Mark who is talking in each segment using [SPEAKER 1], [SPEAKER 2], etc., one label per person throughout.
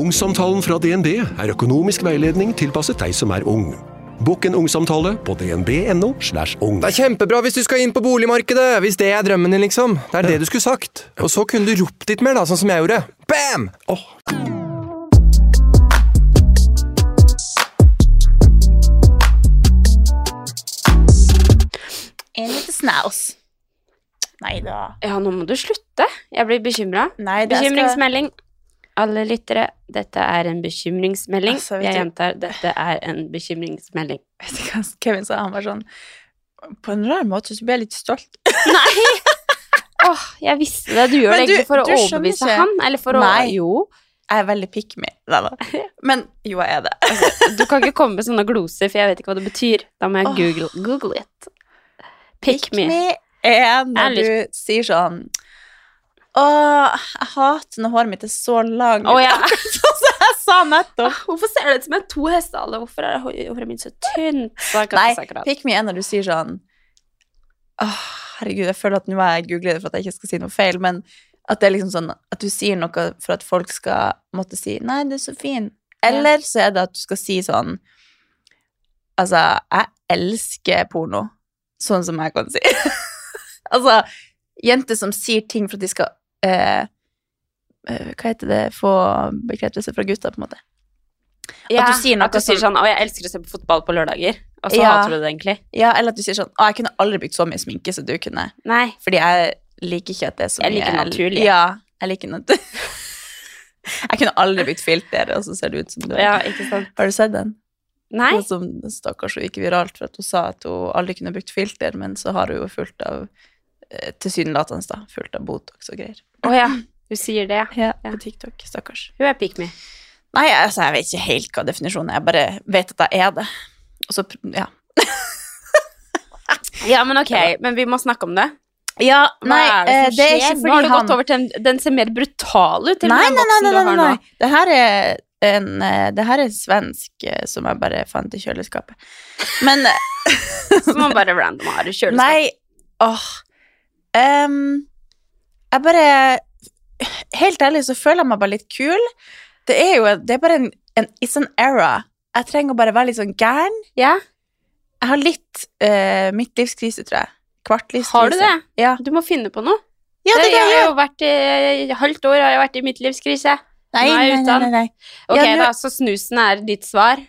[SPEAKER 1] Ungsamtalen fra DNB er økonomisk veiledning tilpasset deg som er ung. Bokk en ungsamtale på dnb.no. slash ung.
[SPEAKER 2] Det er kjempebra hvis du skal inn på boligmarkedet, hvis det er drømmen din, liksom. Det er det du skulle sagt. Og så kunne du ropt litt mer, da, sånn som jeg gjorde. Bam! Åh,
[SPEAKER 3] En liten snaus. Nei da.
[SPEAKER 4] Ja, nå må du slutte. Jeg blir bekymra.
[SPEAKER 3] Nei, det skal-
[SPEAKER 4] Bekymringsmelding. Alle lyttere, dette er en bekymringsmelding.
[SPEAKER 3] Altså, vet
[SPEAKER 4] jeg
[SPEAKER 3] du-
[SPEAKER 4] gjentar, dette er en bekymringsmelding.
[SPEAKER 3] Vet du hva Kevin sa? Han var sånn På en rar måte så ble jeg litt stolt.
[SPEAKER 4] Nei! Åh, jeg visste det. Du gjør
[SPEAKER 3] Men
[SPEAKER 4] det
[SPEAKER 3] du-
[SPEAKER 4] ikke for å
[SPEAKER 3] du skjønner
[SPEAKER 4] overbevise
[SPEAKER 3] ikke.
[SPEAKER 4] han, eller for å
[SPEAKER 3] Nei.
[SPEAKER 4] Jo.
[SPEAKER 3] Jeg er veldig pick me. Nei da. Men jo, jeg er det.
[SPEAKER 4] Du kan ikke komme med sånne gloser, for jeg vet ikke hva det betyr. Da må jeg
[SPEAKER 3] Åh.
[SPEAKER 4] google, google it. Pick, me.
[SPEAKER 3] er når
[SPEAKER 4] Ærlig.
[SPEAKER 3] du sier sånn Å, jeg hater når håret mitt er så langt.
[SPEAKER 4] Å, ja.
[SPEAKER 3] Sånn som jeg sa nettopp.
[SPEAKER 4] Åh, Hvorfor ser det ut som jeg har to hestehale? Hvorfor er hå- håret mitt så tynt? Så jeg kan
[SPEAKER 3] Nei,
[SPEAKER 4] ikke snakke om det.
[SPEAKER 3] pick me er når du sier sånn Åh, herregud, jeg føler at nå må jeg google det for at jeg ikke skal si noe feil, men at det er liksom sånn at du sier noe for at folk skal måtte si 'nei, du er så fin', eller så er det at du skal si sånn Altså, jeg elsker porno, sånn som jeg kan si. altså, jenter som sier ting for at de skal eh, eh, Hva heter det Få bekreftelse fra gutta, på en måte.
[SPEAKER 4] Ja,
[SPEAKER 3] at du sier noe
[SPEAKER 4] at du sier
[SPEAKER 3] som-
[SPEAKER 4] sånn 'Å, jeg elsker å se på fotball på lørdager', og så
[SPEAKER 3] Ja.
[SPEAKER 4] hater du det egentlig.
[SPEAKER 3] Ja, eller at du sier sånn 'Å, jeg kunne aldri brukt så mye sminke som du kunne'.
[SPEAKER 4] Nei.
[SPEAKER 3] Fordi jeg liker ikke at det er så
[SPEAKER 4] Jeg
[SPEAKER 3] mye
[SPEAKER 4] liker naturlig.
[SPEAKER 3] Ja, jeg liker natur. jeg kunne aldri blitt filter, og så ser det ut som du
[SPEAKER 4] Ja, ikke sant.
[SPEAKER 3] Har du sett den?
[SPEAKER 4] Nei.
[SPEAKER 3] Den som stakkars hun gikk viralt for at hun sa at hun aldri kunne brukt filter, men så har hun jo fullt av eh, Tilsynelatende, da. Fullt av Botox og greier.
[SPEAKER 4] Å ja, du sier det. ja.
[SPEAKER 3] Ja, på TikTok. Stakkars.
[SPEAKER 4] Hun er pick me.
[SPEAKER 3] Nei, altså, jeg vet ikke helt hva definisjonen er, jeg bare vet at jeg er det. Og så, pr- ja.
[SPEAKER 4] Ja, men ok, men vi må snakke om det.
[SPEAKER 3] Ja,
[SPEAKER 4] Hva er
[SPEAKER 3] eh,
[SPEAKER 4] det som skjer? Nå har du gått over til en, den ser mer brutal ut enn
[SPEAKER 3] Nei,
[SPEAKER 4] den
[SPEAKER 3] nei,
[SPEAKER 4] boksen
[SPEAKER 3] nei, nei, nei,
[SPEAKER 4] du har
[SPEAKER 3] nei.
[SPEAKER 4] nå.
[SPEAKER 3] Det her er en eh, Det her er svensk eh, som jeg bare fant i kjøleskapet. Men eh,
[SPEAKER 4] Som man bare random har i kjøleskapet.
[SPEAKER 3] Nei, åh Em, Jeg bare Helt ærlig så føler jeg meg bare litt kul. Det er jo Det er bare en, en It's an era. Jeg trenger å bare være litt sånn gæren.
[SPEAKER 4] Ja,
[SPEAKER 3] Jeg har litt eh, midtlivskrise, tror jeg. Kvartlivskrise.
[SPEAKER 4] har du det?
[SPEAKER 3] Ja,
[SPEAKER 4] Du må finne på noe.
[SPEAKER 3] ja det er det
[SPEAKER 4] jeg
[SPEAKER 3] jeg
[SPEAKER 4] har
[SPEAKER 3] gjør.
[SPEAKER 4] jo vært i et halvt år har jeg vært i midtlivskrise.
[SPEAKER 3] Nei,
[SPEAKER 4] Nå er jeg
[SPEAKER 3] nei, nei,
[SPEAKER 4] uten.
[SPEAKER 3] nei. Nei,
[SPEAKER 4] Ok,
[SPEAKER 3] Ja, nå-
[SPEAKER 4] da, så snusen er ditt svar.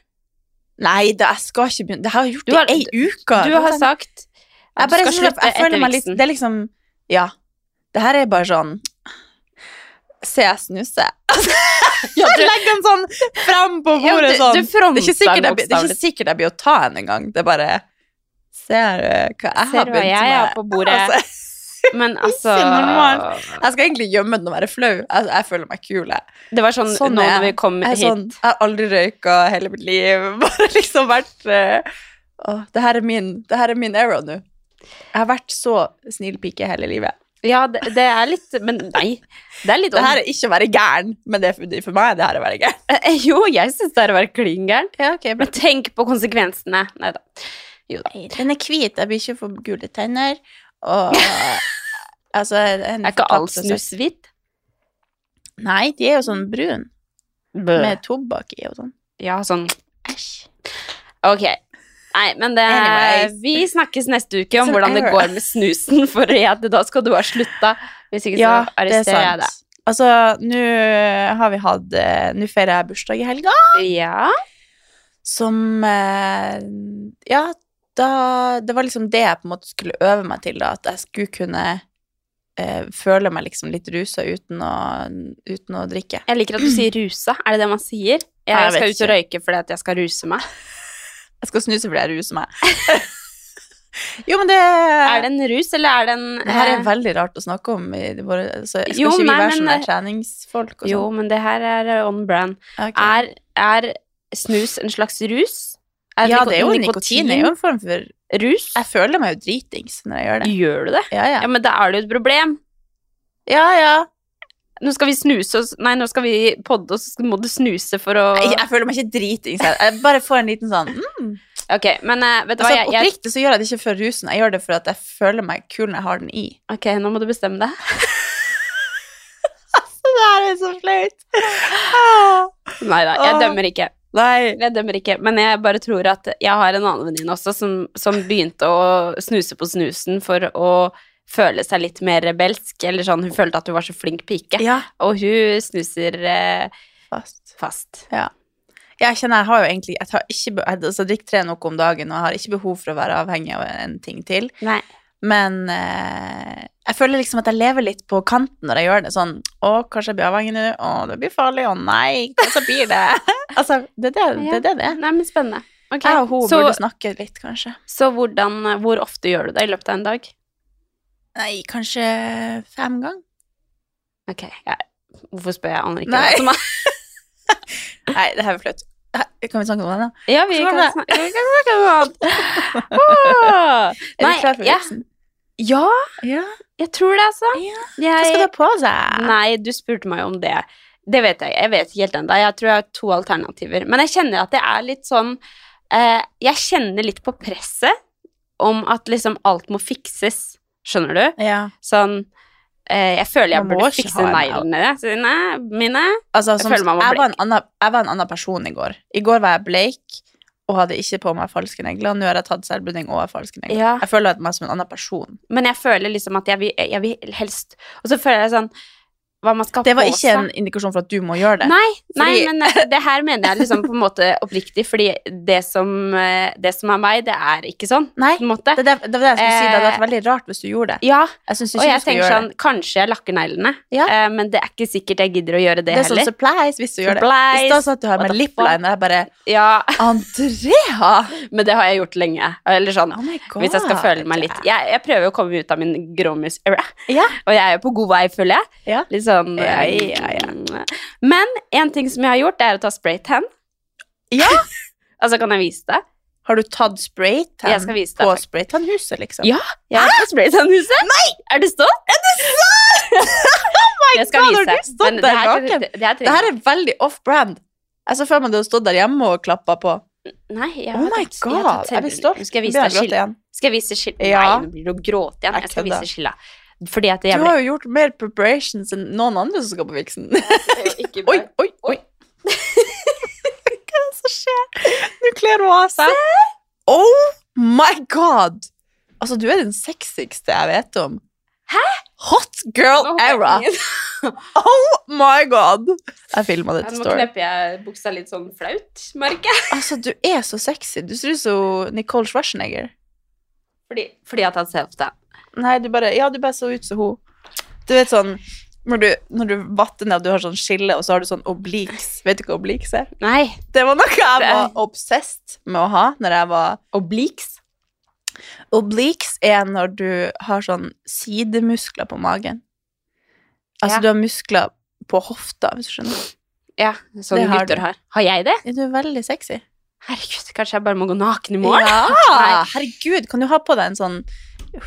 [SPEAKER 3] nei det, jeg skal ikke begynne. Det har jeg
[SPEAKER 4] Du
[SPEAKER 3] gjort
[SPEAKER 4] har-
[SPEAKER 3] i ei uke.
[SPEAKER 4] Du
[SPEAKER 3] Det var
[SPEAKER 4] har
[SPEAKER 3] sånn-
[SPEAKER 4] sagt at
[SPEAKER 3] Jeg
[SPEAKER 4] du
[SPEAKER 3] bare synes
[SPEAKER 4] skal
[SPEAKER 3] at
[SPEAKER 4] slutte
[SPEAKER 3] jeg føler
[SPEAKER 4] etter
[SPEAKER 3] meg litt
[SPEAKER 4] viksen.
[SPEAKER 3] Det er liksom Ja. Det her er bare sånn Se, jeg snuser.
[SPEAKER 4] Ja, du-
[SPEAKER 3] Legg den sånn fram på
[SPEAKER 4] Ja,
[SPEAKER 3] bordet
[SPEAKER 4] du-
[SPEAKER 3] sånn.
[SPEAKER 4] du fronter
[SPEAKER 3] det, er ikke sikkert jeg, blir- det er
[SPEAKER 4] bokstavelig.
[SPEAKER 3] ikke sikkert jeg blir å ta henne engang. Det er bare Ser du hva jeg
[SPEAKER 4] Ser
[SPEAKER 3] har
[SPEAKER 4] du hva
[SPEAKER 3] begynt
[SPEAKER 4] jeg har
[SPEAKER 3] med?
[SPEAKER 4] på bordet?
[SPEAKER 3] Altså,
[SPEAKER 4] Men altså
[SPEAKER 3] Ikke normalt. Altså, jeg skal egentlig gjemme den og være flau. Jeg, jeg føler meg kul. Jeg.
[SPEAKER 4] Det var sånn,
[SPEAKER 3] Sånn
[SPEAKER 4] nå
[SPEAKER 3] er
[SPEAKER 4] når vi
[SPEAKER 3] jeg.
[SPEAKER 4] kom
[SPEAKER 3] Jeg, er
[SPEAKER 4] hit
[SPEAKER 3] sånn, jeg har aldri røyka hele mitt liv. Bare liksom vært eh, Åh, det her er min, det her er min era nå. Jeg har vært så snill pike hele livet.
[SPEAKER 4] Ja, det, det er litt Men nei. Det er litt
[SPEAKER 3] Det her er ikke å være gæren, men det er for, for meg er det her å være gæren.
[SPEAKER 4] Eh, Jo, jeg syns det er å være klin gæren.
[SPEAKER 3] Ja, ok,
[SPEAKER 4] Men tenk på konsekvensene. Nei da. Jo da.
[SPEAKER 3] Den er hvit, jeg blir ikke for gule tenner, og altså, en
[SPEAKER 4] Er ikke all
[SPEAKER 3] fortapt-
[SPEAKER 4] snus hvitt?
[SPEAKER 3] Nei, de er jo sånn brun,
[SPEAKER 4] Med-
[SPEAKER 3] med tobakk i og sånn.
[SPEAKER 4] Ja, sånn Ok. Nei, men det
[SPEAKER 3] Anyways.
[SPEAKER 4] Vi snakkes neste uke om
[SPEAKER 3] Sånn
[SPEAKER 4] hvordan det
[SPEAKER 3] error.
[SPEAKER 4] går med snusen, for jeg, da skal du ha slutta. Hvis ikke, så arresterer jeg deg.
[SPEAKER 3] Altså, nå har vi hatt eh, Nå feirer jeg bursdag i helga,
[SPEAKER 4] Ja.
[SPEAKER 3] som eh, Ja, da Det var liksom det jeg på en måte skulle øve meg til, da, at jeg skulle kunne eh, føle meg liksom litt rusa uten å, uten å drikke.
[SPEAKER 4] Jeg liker at du sier rusa. Er det det man sier? Jeg,
[SPEAKER 3] Nei, jeg
[SPEAKER 4] skal
[SPEAKER 3] vet
[SPEAKER 4] ut og røyke fordi at jeg skal ruse meg.
[SPEAKER 3] Jeg skal snuse fordi jeg ruser meg. Jo, men det
[SPEAKER 4] Er det en rus, eller er det en
[SPEAKER 3] Det her er
[SPEAKER 4] eh,
[SPEAKER 3] veldig rart å snakke om. I det våre, så skal
[SPEAKER 4] Jo,
[SPEAKER 3] ikke vi
[SPEAKER 4] nei,
[SPEAKER 3] være sånn sånne
[SPEAKER 4] men-
[SPEAKER 3] her treningsfolk og sånn?
[SPEAKER 4] Jo, men det her er eh, on brand.
[SPEAKER 3] Ok.
[SPEAKER 4] Er, er snus en slags rus?
[SPEAKER 3] ja, det er jo nikotin. Det er jo en form for
[SPEAKER 4] Rus?
[SPEAKER 3] Jeg føler meg jo dritings når jeg gjør det.
[SPEAKER 4] Gjør du det?
[SPEAKER 3] Ja, ja.
[SPEAKER 4] Ja, men da er det jo et problem.
[SPEAKER 3] ja, ja.
[SPEAKER 4] Nå skal vi snuse oss Nei, nå skal vi podde, og så skal- må du snuse for å
[SPEAKER 3] Jeg, jeg føler meg ikke dritings her. Jeg bare får en liten sånn mm.
[SPEAKER 4] Ok, men eh, vet du
[SPEAKER 3] altså,
[SPEAKER 4] hva, jeg, jeg
[SPEAKER 3] Oppriktig så gjør jeg det ikke for rusen. Jeg gjør det for at jeg føler meg kul når jeg har den i.
[SPEAKER 4] Ok, nå må du bestemme deg.
[SPEAKER 3] Altså, Det her er så flaut! Ah.
[SPEAKER 4] Nei da, jeg
[SPEAKER 3] Åh.
[SPEAKER 4] dømmer ikke.
[SPEAKER 3] Nei.
[SPEAKER 4] Jeg dømmer ikke, men jeg bare tror at jeg har en annen venninne også som, som begynte å snuse på snusen for å føle seg litt mer rebelsk, eller sånn, hun følte at hun var så flink pike,
[SPEAKER 3] Ja,
[SPEAKER 4] og hun snuser eh,
[SPEAKER 3] fast.
[SPEAKER 4] fast.
[SPEAKER 3] Jeg kjenner jeg har jo egentlig Jeg tar ikke be- jeg- altså, drikker tre nok om dagen, og jeg har ikke behov for å være avhengig av en ting til.
[SPEAKER 4] Nei.
[SPEAKER 3] Men eh, jeg føler liksom at jeg lever litt på kanten når jeg gjør det. Sånn Å, kanskje jeg blir avhengig nå? Å, det blir farlig. Å nei, hva så blir det? altså, det er det det er. Det, det. er.
[SPEAKER 4] Nei, men spennende. Ok,
[SPEAKER 3] Jeg og hun
[SPEAKER 4] så,
[SPEAKER 3] burde snakke litt, kanskje.
[SPEAKER 4] så hvordan, eh, hvor ofte gjør du det i løpet av en dag?
[SPEAKER 3] Nei, kanskje fem ganger?
[SPEAKER 4] Ok, jeg, hvorfor spør jeg, jeg aner ikke
[SPEAKER 3] Nei.
[SPEAKER 4] hva som er.
[SPEAKER 3] Nei, det her er flaut. Eh, Kan vi snakke om det, da?
[SPEAKER 4] Ja, vi
[SPEAKER 3] Sånn
[SPEAKER 4] kan
[SPEAKER 3] er det.
[SPEAKER 4] snakke, vi kan snakke om annet. Åh.
[SPEAKER 3] Er
[SPEAKER 4] Nei,
[SPEAKER 3] du klar for
[SPEAKER 4] ja.
[SPEAKER 3] vitsen?
[SPEAKER 4] Ja,
[SPEAKER 3] Ja.
[SPEAKER 4] jeg tror det, altså.
[SPEAKER 3] Hva skal du
[SPEAKER 4] Jeg,
[SPEAKER 3] ha på seg?
[SPEAKER 4] Nei, du spurte meg jo om det. Det vet jeg. Jeg vet ikke helt ennå. Jeg tror jeg har to alternativer. Men jeg kjenner at det er litt sånn eh, Jeg kjenner litt på presset om at liksom alt må fikses. Skjønner du?
[SPEAKER 3] Ja.
[SPEAKER 4] Sånn eh, Jeg føler jeg
[SPEAKER 3] Man må
[SPEAKER 4] burde
[SPEAKER 3] ikke
[SPEAKER 4] fikse
[SPEAKER 3] ha en
[SPEAKER 4] neglene sine, mine.
[SPEAKER 3] Altså,
[SPEAKER 4] Jeg
[SPEAKER 3] som, jeg,
[SPEAKER 4] føler man må
[SPEAKER 3] var en annen, jeg var en annen person i går. I går var jeg bleik og hadde ikke på meg falske negler. Nå har jeg tatt selvbruning og har falske negler.
[SPEAKER 4] Ja.
[SPEAKER 3] Jeg føler meg som en annen person.
[SPEAKER 4] Men jeg føler liksom at jeg vil, jeg vil helst Og så føler jeg sånn Hva man skal ha
[SPEAKER 3] Det var
[SPEAKER 4] på
[SPEAKER 3] ikke
[SPEAKER 4] seg.
[SPEAKER 3] en indikasjon for at du må gjøre det.
[SPEAKER 4] Nei,
[SPEAKER 3] Fordi-
[SPEAKER 4] nei, men eh, det her mener jeg liksom på en måte oppriktig, fordi det som, eh, det som er meg, det er ikke sånn.
[SPEAKER 3] Nei,
[SPEAKER 4] På en måte.
[SPEAKER 3] Det, er det, det var det jeg skulle si. Det hadde
[SPEAKER 4] Eh,
[SPEAKER 3] vært veldig rart hvis du gjorde det.
[SPEAKER 4] Ja,
[SPEAKER 3] Jeg synes
[SPEAKER 4] og
[SPEAKER 3] ikke
[SPEAKER 4] jeg
[SPEAKER 3] du skal
[SPEAKER 4] tenker
[SPEAKER 3] gjøre
[SPEAKER 4] sånn, kanskje jeg lakker neglene,
[SPEAKER 3] Ja.
[SPEAKER 4] eh, men det er ikke sikkert jeg gidder å gjøre
[SPEAKER 3] det.
[SPEAKER 4] det,
[SPEAKER 3] Det er sånn
[SPEAKER 4] heller.
[SPEAKER 3] surprise hvis du gjør det. I
[SPEAKER 4] Surprise.
[SPEAKER 3] stedet for at du har
[SPEAKER 4] What
[SPEAKER 3] med
[SPEAKER 4] the
[SPEAKER 3] lipliner, jeg bare
[SPEAKER 4] Ja,
[SPEAKER 3] Andrea!
[SPEAKER 4] men det har jeg gjort lenge. Eller sånn,
[SPEAKER 3] Oh my god.
[SPEAKER 4] hvis jeg skal føle meg litt. Jeg, jeg prøver å komme ut av min gråmus-era,
[SPEAKER 3] Ja.
[SPEAKER 4] og jeg er jo på god vei, føler jeg.
[SPEAKER 3] Ja.
[SPEAKER 4] Litt sånn...
[SPEAKER 3] Ja,
[SPEAKER 4] eh,
[SPEAKER 3] ja,
[SPEAKER 4] Men en ting som jeg har gjort, det er å ta spraytan.
[SPEAKER 3] Ja.
[SPEAKER 4] altså, kan jeg vise det?
[SPEAKER 3] Har du tatt spraytan
[SPEAKER 4] Jeg skal vise deg,
[SPEAKER 3] på
[SPEAKER 4] faktisk.
[SPEAKER 3] spraytanhuset, liksom?
[SPEAKER 4] Ja, jeg har fått spraytannhuset. Nei! Er det stått? Er det sant? oh my jeg skal
[SPEAKER 3] God, har
[SPEAKER 4] vise
[SPEAKER 3] du
[SPEAKER 4] deg.
[SPEAKER 3] stått
[SPEAKER 4] Men
[SPEAKER 3] der
[SPEAKER 4] det her-
[SPEAKER 3] naken?
[SPEAKER 4] Det, det her
[SPEAKER 3] Det
[SPEAKER 4] trenger
[SPEAKER 3] her er veldig off-brand. Jeg så for meg du hadde stått der hjemme og klappa på.
[SPEAKER 4] Nei, jeg
[SPEAKER 3] Oh
[SPEAKER 4] har
[SPEAKER 3] my
[SPEAKER 4] tatt- jeg har
[SPEAKER 3] god,
[SPEAKER 4] tatt
[SPEAKER 3] jeg blir
[SPEAKER 4] selvbilde.
[SPEAKER 3] stolt.
[SPEAKER 4] Nå Skal
[SPEAKER 3] Nå
[SPEAKER 4] jeg vise deg
[SPEAKER 3] begynner jeg å gråte igjen. Ja.
[SPEAKER 4] skilla? Skal jeg vise skilla? Nei, nå blir det å gråte igjen.
[SPEAKER 3] Jeg
[SPEAKER 4] Jeg skal
[SPEAKER 3] kødder.
[SPEAKER 4] vise skilla. Fordi at
[SPEAKER 3] Du
[SPEAKER 4] jeg
[SPEAKER 3] har jo gjort mer preparations enn noen andre som skal på viksen.
[SPEAKER 4] ikke
[SPEAKER 3] Oi, oi, oi. Hva er det som skjer? Du kler henne av seg. Oh my god! Altså, du er den sexigste jeg vet om. Hæ? Hot girl era. Oh my god! Jeg filma det til
[SPEAKER 4] Nå
[SPEAKER 3] Story.
[SPEAKER 4] knepper jeg buksa litt sånn flaut, merker jeg.
[SPEAKER 3] Altså, du er så sexy. Du ser ut som Nicole Schwarzenegger.
[SPEAKER 4] Fordi, fordi at jeg har tatt selfie.
[SPEAKER 3] Nei, du bare Ja, du bare så ut som hun. Du vet sånn når du, når du vatter ned, du har sånn skille, og så har du sånn obliques. Vet du hva obliques er?
[SPEAKER 4] Nei.
[SPEAKER 3] Det var noe jeg
[SPEAKER 4] Det-
[SPEAKER 3] var obsessed med å ha når jeg var Obliques? Obliques er når du har sånn sidemuskler på magen. Altså
[SPEAKER 4] Ja.
[SPEAKER 3] du har muskler på hofta, hvis du skjønner.
[SPEAKER 4] Ja, sånne
[SPEAKER 3] Det har
[SPEAKER 4] gutter
[SPEAKER 3] du.
[SPEAKER 4] har. Har jeg det?
[SPEAKER 3] Ja, Du er veldig sexy.
[SPEAKER 4] Herregud, kanskje jeg bare må gå naken i morgen?
[SPEAKER 3] Ja!
[SPEAKER 4] Nei.
[SPEAKER 3] Herregud, kan du ha på deg en sånn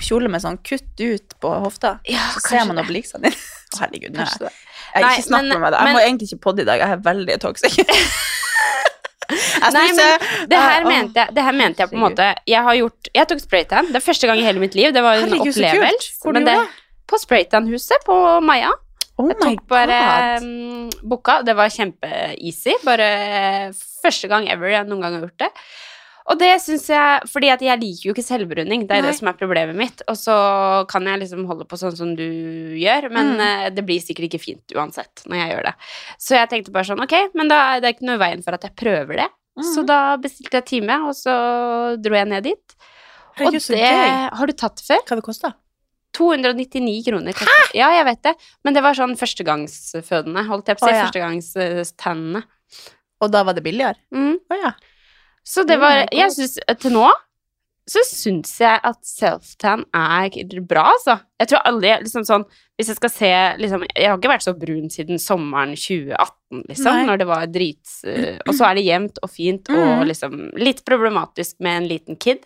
[SPEAKER 3] kjole med sånn kutt ut på hofta?
[SPEAKER 4] Ja,
[SPEAKER 3] Så
[SPEAKER 4] kanskje
[SPEAKER 3] ser man
[SPEAKER 4] det.
[SPEAKER 3] obliquesene dine. Å, Herregud, nå er jeg
[SPEAKER 4] Kanskje det.
[SPEAKER 3] Jeg
[SPEAKER 4] Nei,
[SPEAKER 3] ikke snakk
[SPEAKER 4] men-
[SPEAKER 3] med meg da. Jeg må
[SPEAKER 4] men-
[SPEAKER 3] egentlig ikke podde i dag. Jeg er veldig toxic. jeg
[SPEAKER 4] Nei, men
[SPEAKER 3] snuser.
[SPEAKER 4] det her,
[SPEAKER 3] Åh.
[SPEAKER 4] mente jeg, det her mente jeg på en
[SPEAKER 3] Ah, Herregud.
[SPEAKER 4] måte Jeg har gjort Jeg tok spraytan. Det er første gang i hele mitt liv. Det var jo en
[SPEAKER 3] Herregud, så kult.
[SPEAKER 4] opplevelse.
[SPEAKER 3] Hvor
[SPEAKER 4] men
[SPEAKER 3] gjorde du
[SPEAKER 4] det- På spraytan-huset på Maja.
[SPEAKER 3] Oh
[SPEAKER 4] Jeg tok bare um, boka. Det var kjempe-easy. Bare eh, første gang ever jeg noen gang har gjort det. Og det syns jeg Fordi at jeg liker jo ikke selvbruning. Det er
[SPEAKER 3] Nei.
[SPEAKER 4] det som er problemet mitt. Og så kan jeg liksom holde på sånn som du gjør, men
[SPEAKER 3] Mm.
[SPEAKER 4] eh, det blir sikkert ikke fint uansett når jeg gjør det. Så jeg tenkte bare sånn Ok, men da er det ikke noe i veien for at jeg prøver det. Så
[SPEAKER 3] Mm.
[SPEAKER 4] da bestilte jeg time, og så dro jeg ned dit. Og
[SPEAKER 3] Herregud, så
[SPEAKER 4] det
[SPEAKER 3] gøy.
[SPEAKER 4] Har du tatt det før?
[SPEAKER 3] Hva det kosta?
[SPEAKER 4] 299 kroner. Hæ?! Ja, jeg vet det. Men det var sånn førstegangsfødende, holdt jeg på å
[SPEAKER 3] Å,
[SPEAKER 4] si.
[SPEAKER 3] ja.
[SPEAKER 4] Førstegangstennene.
[SPEAKER 3] Og da var det billigere?
[SPEAKER 4] Mm.
[SPEAKER 3] Å ja.
[SPEAKER 4] Så det
[SPEAKER 3] Oh
[SPEAKER 4] var
[SPEAKER 3] my God.
[SPEAKER 4] Jeg syns til nå så syns jeg at self-tan er bra, altså. Jeg tror aldri jeg liksom sånn Hvis jeg skal se liksom, Jeg har ikke vært så brun siden sommeren 2018, liksom,
[SPEAKER 3] Nei.
[SPEAKER 4] når det var drits eh, Og så er det jevnt og fint og
[SPEAKER 3] Mhm.
[SPEAKER 4] liksom litt problematisk med en liten kid.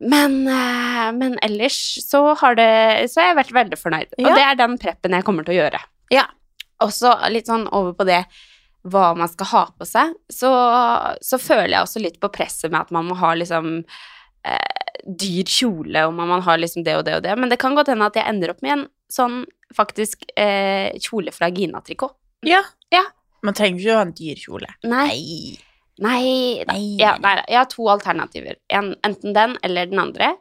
[SPEAKER 4] Men, eh, men ellers så har det Så har jeg vært veldig fornøyd.
[SPEAKER 3] Ja.
[SPEAKER 4] Og det er den preppen jeg kommer til å gjøre. Ja. Og så litt sånn over på det hva man skal ha på seg, så, så føler jeg også litt på presset med at man må ha liksom eh, dyr kjole, og man må ha liksom det og det og det. Men det kan godt hende at jeg ender opp med en sånn faktisk eh, kjole fra Gina-trikot.
[SPEAKER 3] Ja.
[SPEAKER 4] Ja.
[SPEAKER 3] Man trenger ikke å ha en dyr kjole.
[SPEAKER 4] Nei. Nei. da. Ja, nei, da. jeg har to alternativer. En, enten den eller den andre.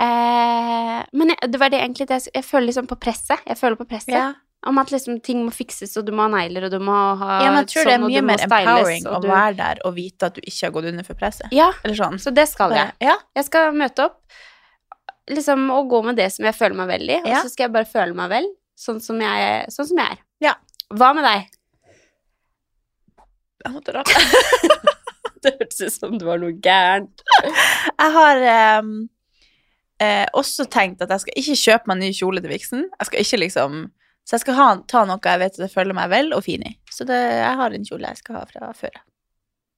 [SPEAKER 4] Eh, men jeg, det var det egentlig det jeg, jeg føler liksom på presset. Jeg føler på presset.
[SPEAKER 3] Ja.
[SPEAKER 4] Om at liksom ting må fikses, og du må ha negler, og du må ha sånn,
[SPEAKER 3] ja, men jeg tror det er
[SPEAKER 4] og du
[SPEAKER 3] mye
[SPEAKER 4] må
[SPEAKER 3] mer
[SPEAKER 4] styles,
[SPEAKER 3] empowering
[SPEAKER 4] og
[SPEAKER 3] å
[SPEAKER 4] du-
[SPEAKER 3] være der og vite at du ikke har gått under for presset.
[SPEAKER 4] Ja,
[SPEAKER 3] Eller sånn.
[SPEAKER 4] så det skal jeg.
[SPEAKER 3] Ja.
[SPEAKER 4] Jeg skal møte opp liksom, og gå med det som jeg føler meg vel i, og
[SPEAKER 3] Ja.
[SPEAKER 4] så skal jeg bare føle meg vel, sånn som jeg, sånn som jeg er.
[SPEAKER 3] Ja.
[SPEAKER 4] Hva med deg?
[SPEAKER 3] Jeg måtte rape.
[SPEAKER 4] Det hørtes ut som det var noe gærent.
[SPEAKER 3] Jeg har ehm, eh, også tenkt at jeg skal ikke kjøpe meg ny kjole til viksen. Jeg skal ikke liksom Så jeg skal ha, ta noe jeg vet at jeg føler meg vel og fin i. Så det, jeg har en kjole jeg skal ha fra før.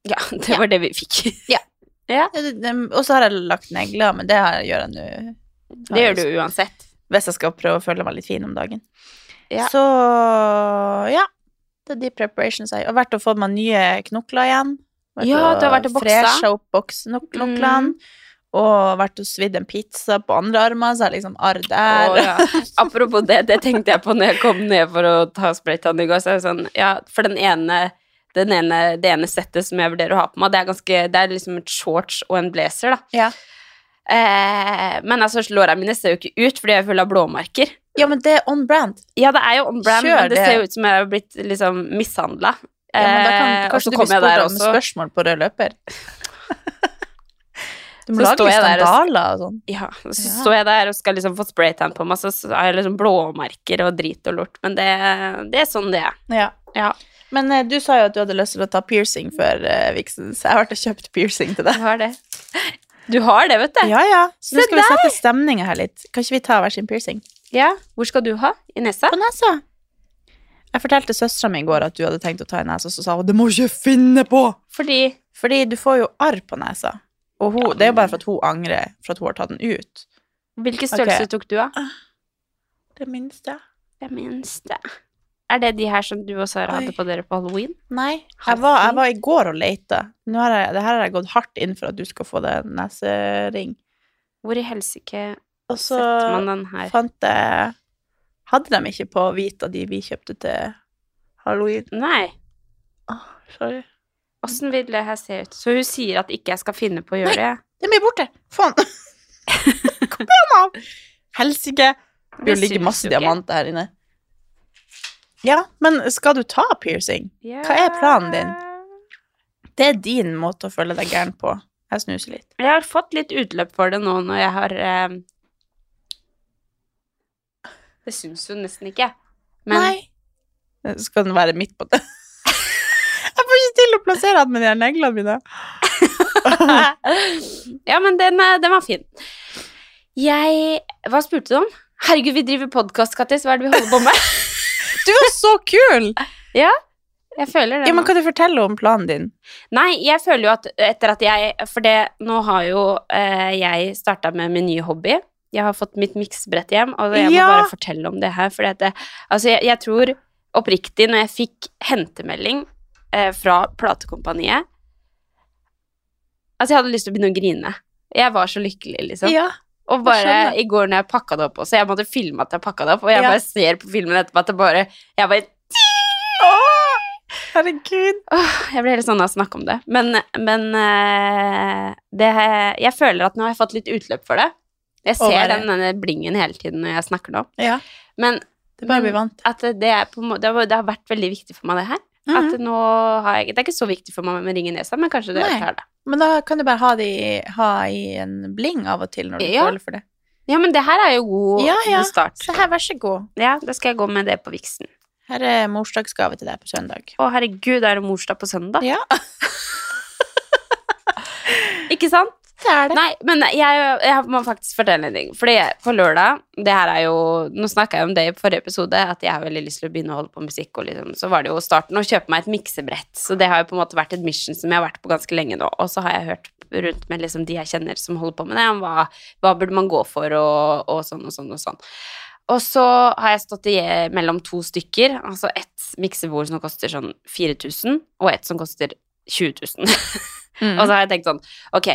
[SPEAKER 4] Ja, det var det vi fikk.
[SPEAKER 3] Ja, det- det- Og så har jeg lagt negler, men det har- gjør jeg nå.
[SPEAKER 4] Det gjør du uansett.
[SPEAKER 3] Hvis jeg skal prøve å føle meg litt fin om dagen.
[SPEAKER 4] Ja.
[SPEAKER 3] Så ja. Det er de preparations jeg har. Og vært og fått meg nye knokler igjen. Vært
[SPEAKER 4] Ja, du har vært og boksa. Mm.
[SPEAKER 3] Fresha opp boksknoklene. Og vært og svidd en pizza på andre armer, så jeg har liksom arr der.
[SPEAKER 4] Å, ja. Apropos det, det tenkte jeg på når jeg kom ned for å ta spraytann i går. Så er det sånn, ja, for den ene, den ene, det ene settet som jeg vurderer å ha på meg, det er, ganske, det er liksom et shorts og en blazer, da.
[SPEAKER 3] Ja.
[SPEAKER 4] Eh, men altså, lårene mine ser jo ikke ut, fordi jeg er full av blåmerker.
[SPEAKER 3] Ja, men det er on brand.
[SPEAKER 4] Ja, det er jo on brand,
[SPEAKER 3] Kjør
[SPEAKER 4] men det
[SPEAKER 3] det.
[SPEAKER 4] ser jo ut som jeg har blitt liksom mishandla.
[SPEAKER 3] Ja, men da kan,
[SPEAKER 4] Eh, og
[SPEAKER 3] kanskje
[SPEAKER 4] så
[SPEAKER 3] du blir
[SPEAKER 4] kommer jeg
[SPEAKER 3] spurt
[SPEAKER 4] der
[SPEAKER 3] om
[SPEAKER 4] også.
[SPEAKER 3] spørsmål på rød løper. Du må
[SPEAKER 4] Så
[SPEAKER 3] lage
[SPEAKER 4] står jeg
[SPEAKER 3] litt
[SPEAKER 4] der og-
[SPEAKER 3] sandaler og sånn.
[SPEAKER 4] Ja, og så
[SPEAKER 3] Ja.
[SPEAKER 4] står jeg der og skal liksom få spraytan på meg, så så har jeg liksom blåmerker og drit og lort. Men det, det er sånn det er.
[SPEAKER 3] Ja.
[SPEAKER 4] Ja.
[SPEAKER 3] Men eh, du sa jo at du hadde lyst til å ta piercing før eh, viksen, så jeg har vært og kjøpt piercing til deg.
[SPEAKER 4] Du har det. Du har det, vet du.
[SPEAKER 3] Ja, ja. Så nå
[SPEAKER 4] Se
[SPEAKER 3] skal vi sette stemninga her litt. Kan ikke vi ta hver sin piercing?
[SPEAKER 4] Ja, Hvor skal du ha? I nesa?
[SPEAKER 3] På nesa. Jeg fortalte søstera mi i går at du hadde tenkt å ta i nesa, så sa hun det må ikke jeg finne på!
[SPEAKER 4] Fordi
[SPEAKER 3] Fordi du får jo arr på nesa. Og hun, det er jo bare for at hun angrer for at hun har tatt den ut.
[SPEAKER 4] Hvilken størrelse
[SPEAKER 3] Ok.
[SPEAKER 4] tok du av?
[SPEAKER 3] Det minste.
[SPEAKER 4] Det minste. Er det de her som du og Sara hadde
[SPEAKER 3] Oi.
[SPEAKER 4] på dere på halloween?
[SPEAKER 3] Nei, jeg
[SPEAKER 4] Halsen?
[SPEAKER 3] var, jeg var i går og leita. Nå har jeg, det her har jeg gått hardt inn for at du skal få deg nesering.
[SPEAKER 4] Hvor i helsike
[SPEAKER 3] Og så
[SPEAKER 4] setter man den her?
[SPEAKER 3] fant jeg Hadde de ikke på hvit av de vi kjøpte til halloween?
[SPEAKER 4] Nei.
[SPEAKER 3] Åh, sorry.
[SPEAKER 4] Åssen vil det her se ut? Så hun sier at ikke jeg skal finne på å gjøre det?
[SPEAKER 3] Den ble borte! Faen! Hvor ble den av? Helsike! Det
[SPEAKER 4] Det
[SPEAKER 3] ligger
[SPEAKER 4] syns
[SPEAKER 3] masse
[SPEAKER 4] jo ikke.
[SPEAKER 3] diamanter her inne. Ja, men skal du ta piercing?
[SPEAKER 4] Ja.
[SPEAKER 3] Hva er planen din? Det er din måte å føle deg gæren på. Jeg snuser litt.
[SPEAKER 4] Jeg har fått litt utløp for det nå når jeg har eh, Det syns jo nesten ikke. Men
[SPEAKER 3] Nei. Skal den være midt på det? jeg får ikke til å plassere den med de her neglene mine.
[SPEAKER 4] ja, men den, eh, den var fin. Jeg Hva spurte du om? Herregud, vi driver podkast, Kattis. Hva er det vi holder på med?
[SPEAKER 3] Du er så kul!
[SPEAKER 4] Jeg føler det.
[SPEAKER 3] Ja, men
[SPEAKER 4] nå.
[SPEAKER 3] Kan du fortelle om planen din?
[SPEAKER 4] Nei, jeg føler jo at etter at jeg For det, nå har jo eh, jeg starta med min nye hobby. Jeg har fått mitt miksebrett hjem, og jeg må
[SPEAKER 3] Ja.
[SPEAKER 4] bare fortelle om det her. For det, altså, jeg, jeg tror oppriktig, når jeg fikk hentemelding eh, fra platekompaniet Altså, jeg hadde lyst til å begynne å grine. Jeg var så lykkelig, liksom. Og bare
[SPEAKER 3] skjønner.
[SPEAKER 4] i går når jeg pakka det opp også, jeg måtte filme at jeg pakka det opp, og jeg
[SPEAKER 3] Ja.
[SPEAKER 4] bare ser på filmen etterpå at det bare Jeg bare
[SPEAKER 3] Åh, herregud.
[SPEAKER 4] Åh, jeg blir helt sånn av å snakke om det. Men, men eh, det, jeg føler at nå har jeg fått litt utløp for det. Jeg
[SPEAKER 3] Å,
[SPEAKER 4] ser
[SPEAKER 3] bare-
[SPEAKER 4] den, denne blingen hele tiden når jeg snakker nå.
[SPEAKER 3] Ja,
[SPEAKER 4] Men
[SPEAKER 3] det bør bli vant.
[SPEAKER 4] at det, er på, en må- det, har, det har vært veldig viktig for meg, det her.
[SPEAKER 3] Mhm.
[SPEAKER 4] At nå har jeg, det er ikke så viktig for meg med ring i nesa, men kanskje det
[SPEAKER 3] Nei.
[SPEAKER 4] tar det.
[SPEAKER 3] Men da kan du bare ha, de, ha i en bling av og til når du
[SPEAKER 4] Ja.
[SPEAKER 3] føler for det.
[SPEAKER 4] Ja, men det her er jo god,
[SPEAKER 3] Ja, ja.
[SPEAKER 4] god start.
[SPEAKER 3] Så her, vær så god.
[SPEAKER 4] Ja, da skal jeg gå med det på viksen.
[SPEAKER 3] Her er morsdagsgave til deg på søndag.
[SPEAKER 4] Å, herregud, er det morsdag på søndag?
[SPEAKER 3] Ja.
[SPEAKER 4] Ikke sant?
[SPEAKER 3] det er det.
[SPEAKER 4] Nei, men jeg, jeg må faktisk fortelle en ting. Fordi på lørdag det her er jo, Nå snakka jeg om det i forrige episode, at jeg har veldig lyst til å begynne å holde på med musikk. Og liksom, så var det jo starten å kjøpe meg et miksebrett. Så det har jo på en måte vært et mission som jeg har vært på ganske lenge nå. Og så har jeg hørt rundt med liksom, de jeg kjenner som holder på med det, om hva, hva burde man gå for, og, og sånn og sånn og sånn. Og så har jeg stått i mellom to stykker, altså ett miksebord som koster sånn 4000, og ett som koster 20 000.
[SPEAKER 3] Mm.
[SPEAKER 4] og så har jeg tenkt sånn, ok,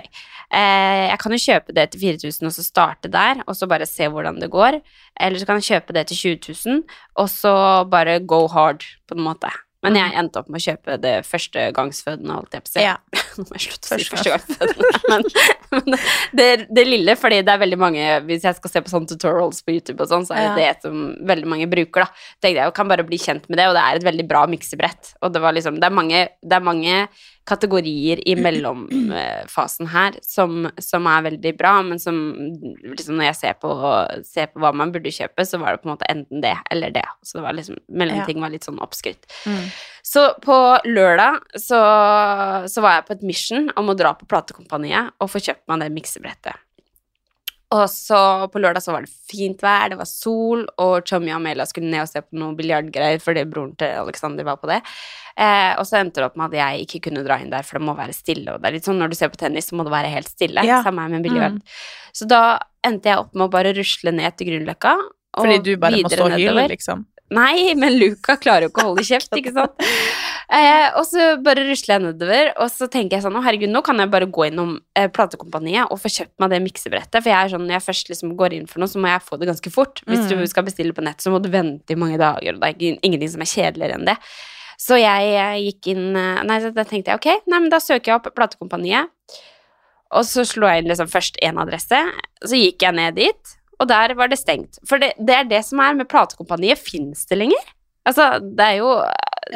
[SPEAKER 4] eh, jeg kan jo kjøpe det til 4000 og så starte der, og så bare se hvordan det går. Eller så kan jeg kjøpe det til 20 000, og så bare go hard, på en måte. Men jeg endte opp med å kjøpe det førstegangsfødende, holdt jeg på å si.
[SPEAKER 3] Mm. Ja.
[SPEAKER 4] Nå må jeg slutte å si førstegangsfødende. Men, men det, det lille, fordi det er veldig mange, hvis jeg skal se på sånne tutorials på YouTube og sånn, så er det
[SPEAKER 3] Ja.
[SPEAKER 4] det som veldig mange bruker, da. Tenkte jeg, jeg kan bare bli kjent med det, og det er et veldig bra miksebrett. Og det var liksom, det er mange, det er mange kategorier i mellomfasen her som, som er veldig bra, men som liksom når jeg ser på, ser på hva man burde kjøpe, så var det på en måte enten det eller det. Så det var liksom, mellomting var litt sånn oppskrytt. Så på lørdag så, så var jeg på et mission om å dra på platekompaniet og få kjøpt meg det miksebrettet. Og så på lørdag så var det fint vær, det var sol, og Chommy og Amelia skulle ned og se på noen biljardgreier fordi broren til Alexander var på det. Eh, og så endte det opp med at jeg ikke kunne dra inn der, for det må være stille. Og det er litt sånn når du ser på tennis, så må det være helt stille.
[SPEAKER 3] Ja. Mm.
[SPEAKER 4] Samme her med biljard. Så da endte jeg opp med å bare rusle ned til Grünerløkka. og
[SPEAKER 3] Fordi du bare må
[SPEAKER 4] videre
[SPEAKER 3] stå og hylle,
[SPEAKER 4] nedover.
[SPEAKER 3] liksom.
[SPEAKER 4] Nei, men Luca klarer jo ikke å holde kjeft, ikke sant? Eh, og så bare rusler jeg nedover, og så tenker jeg sånn, å herregud, nå kan jeg bare gå innom eh, platekompaniet og få kjøpt meg det miksebrettet, for jeg er sånn, når jeg først liksom går inn for noe, så må jeg få det ganske fort. Hvis du skal bestille på nett, så må du vente i mange dager, og det er ikke- ingenting som er kjedeligere enn det. Så jeg eh, gikk inn, eh, nei, så da tenkte jeg, ok, nei, men da søker jeg opp platekompaniet, og så slo jeg inn liksom først en adresse, så gikk jeg ned dit, og der var det stengt. For det, det er det som er med platekompaniet, finnes det lenger? Altså, det er jo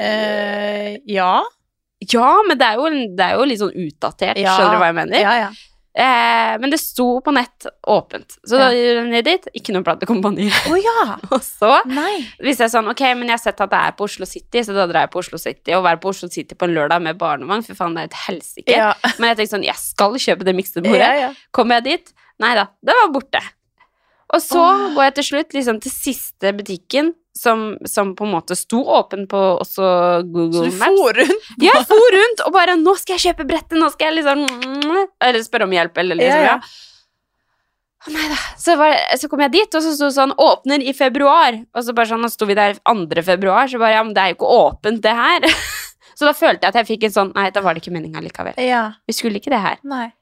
[SPEAKER 3] Eh, ja.
[SPEAKER 4] Ja, men det er jo, det er jo litt sånn utdatert,
[SPEAKER 3] Ja.
[SPEAKER 4] skjønner du hva jeg mener?
[SPEAKER 3] Ja, ja.
[SPEAKER 4] Eh, men det sto på nett åpent, så da gjorde jeg ned dit, ikke noe platekompani.
[SPEAKER 3] Å ja!
[SPEAKER 4] Og så
[SPEAKER 3] Nei.
[SPEAKER 4] visste jeg sånn, ok, men jeg har sett at det er på Oslo City, så da drar jeg på Oslo City, og være på Oslo City på en lørdag med barnevogn, for faen, det er et helsike.
[SPEAKER 3] Ja.
[SPEAKER 4] Men jeg tenkte sånn, jeg skal kjøpe det miksebordet.
[SPEAKER 3] Ja, ja.
[SPEAKER 4] Kommer jeg dit? Nei da, det var borte. Og så går jeg til slutt liksom, til siste butikken, som, som på en måte sto åpen på også
[SPEAKER 3] Så
[SPEAKER 4] Google
[SPEAKER 3] du
[SPEAKER 4] Maps.
[SPEAKER 3] for rundt?
[SPEAKER 4] Ja, Jeg for rundt og bare 'Nå skal jeg kjøpe brettet!' Nå skal jeg liksom Eller spørre om hjelp, eller liksom
[SPEAKER 3] Ja,
[SPEAKER 4] ja.
[SPEAKER 3] ja.
[SPEAKER 4] Å, nei da. Så, var, så kom jeg dit, og så sto det sånn 'Åpner i februar'. Og så bare sånn, nå sto vi der 2. februar, så bare Ja, men det er jo ikke åpent, det her. Så da følte jeg at jeg fikk en sånn Nei, da var det ikke meninga likevel.
[SPEAKER 3] Ja.
[SPEAKER 4] Vi skulle ikke det her.
[SPEAKER 3] Nei.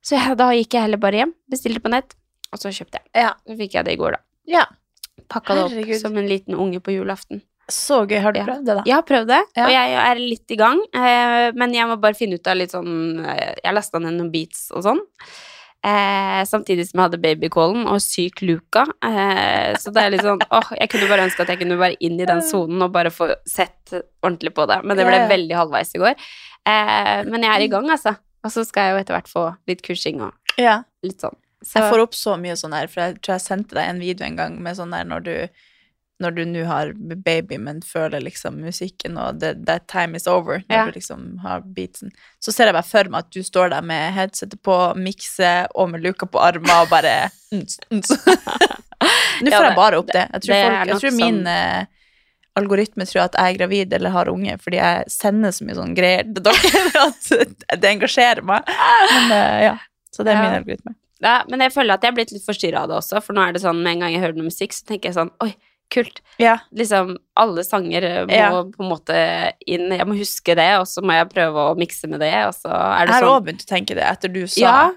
[SPEAKER 4] Så jeg, da gikk jeg heller bare hjem, bestilte på nett, og så kjøpte jeg.
[SPEAKER 3] Ja.
[SPEAKER 4] Så fikk jeg det i går, da.
[SPEAKER 3] Ja.
[SPEAKER 4] Pakka det opp
[SPEAKER 3] Herregud.
[SPEAKER 4] som en liten unge på julaften.
[SPEAKER 3] Så gøy. Har du
[SPEAKER 4] Ja.
[SPEAKER 3] prøvd det, da?
[SPEAKER 4] Jeg har prøvd det,
[SPEAKER 3] Ja.
[SPEAKER 4] og jeg er litt i gang. eh, Men jeg må bare finne ut av litt sånn eh, Jeg lasta ned noen beats og sånn. Eh, samtidig som jeg hadde babycallen og syk Luca. Eh, så det er litt sånn åh, Jeg kunne bare ønske at jeg kunne være inn i den sonen og bare få sett ordentlig på det. Men det ble
[SPEAKER 3] Ja, ja.
[SPEAKER 4] veldig halvveis i går. Eh, men jeg er i gang, altså. Og så skal jeg jo etter hvert få litt kursing og
[SPEAKER 3] Ja.
[SPEAKER 4] litt sånn. Så,
[SPEAKER 3] Jeg får opp så mye sånn her, for jeg tror jeg sendte deg en video en gang med sånn der når du når du nå har baby, men føler liksom musikken og the, that time is over, når
[SPEAKER 4] Ja.
[SPEAKER 3] du liksom har beatsen, så ser jeg bare for meg at du står der med headsetet på, mikse og med luka på armen og bare ns, ns. Nå
[SPEAKER 4] Ja,
[SPEAKER 3] får
[SPEAKER 4] det-
[SPEAKER 3] jeg bare opp det. Jeg tror,
[SPEAKER 4] det er
[SPEAKER 3] folk,
[SPEAKER 4] nok
[SPEAKER 3] jeg tror min eh, algoritme tror at jeg er gravid eller har unge, fordi jeg sender så mye sånne greier til dere at det engasjerer meg. Men eh, ja, så det er
[SPEAKER 4] Ja.
[SPEAKER 3] min algoritme.
[SPEAKER 4] ja, men jeg føler at jeg er blitt litt forstyrra av det også, for nå er det sånn med en gang jeg hører noe musikk, så tenker jeg sånn Oi, kult.
[SPEAKER 3] Ja.
[SPEAKER 4] liksom alle sanger eh, må
[SPEAKER 3] Ja.
[SPEAKER 4] på en måte inn. Jeg må huske det, og så må jeg prøve å mikse med det, og så er
[SPEAKER 3] Jeg
[SPEAKER 4] det
[SPEAKER 3] har
[SPEAKER 4] sånn
[SPEAKER 3] også begynt å tenke det etter du sa
[SPEAKER 4] Ja.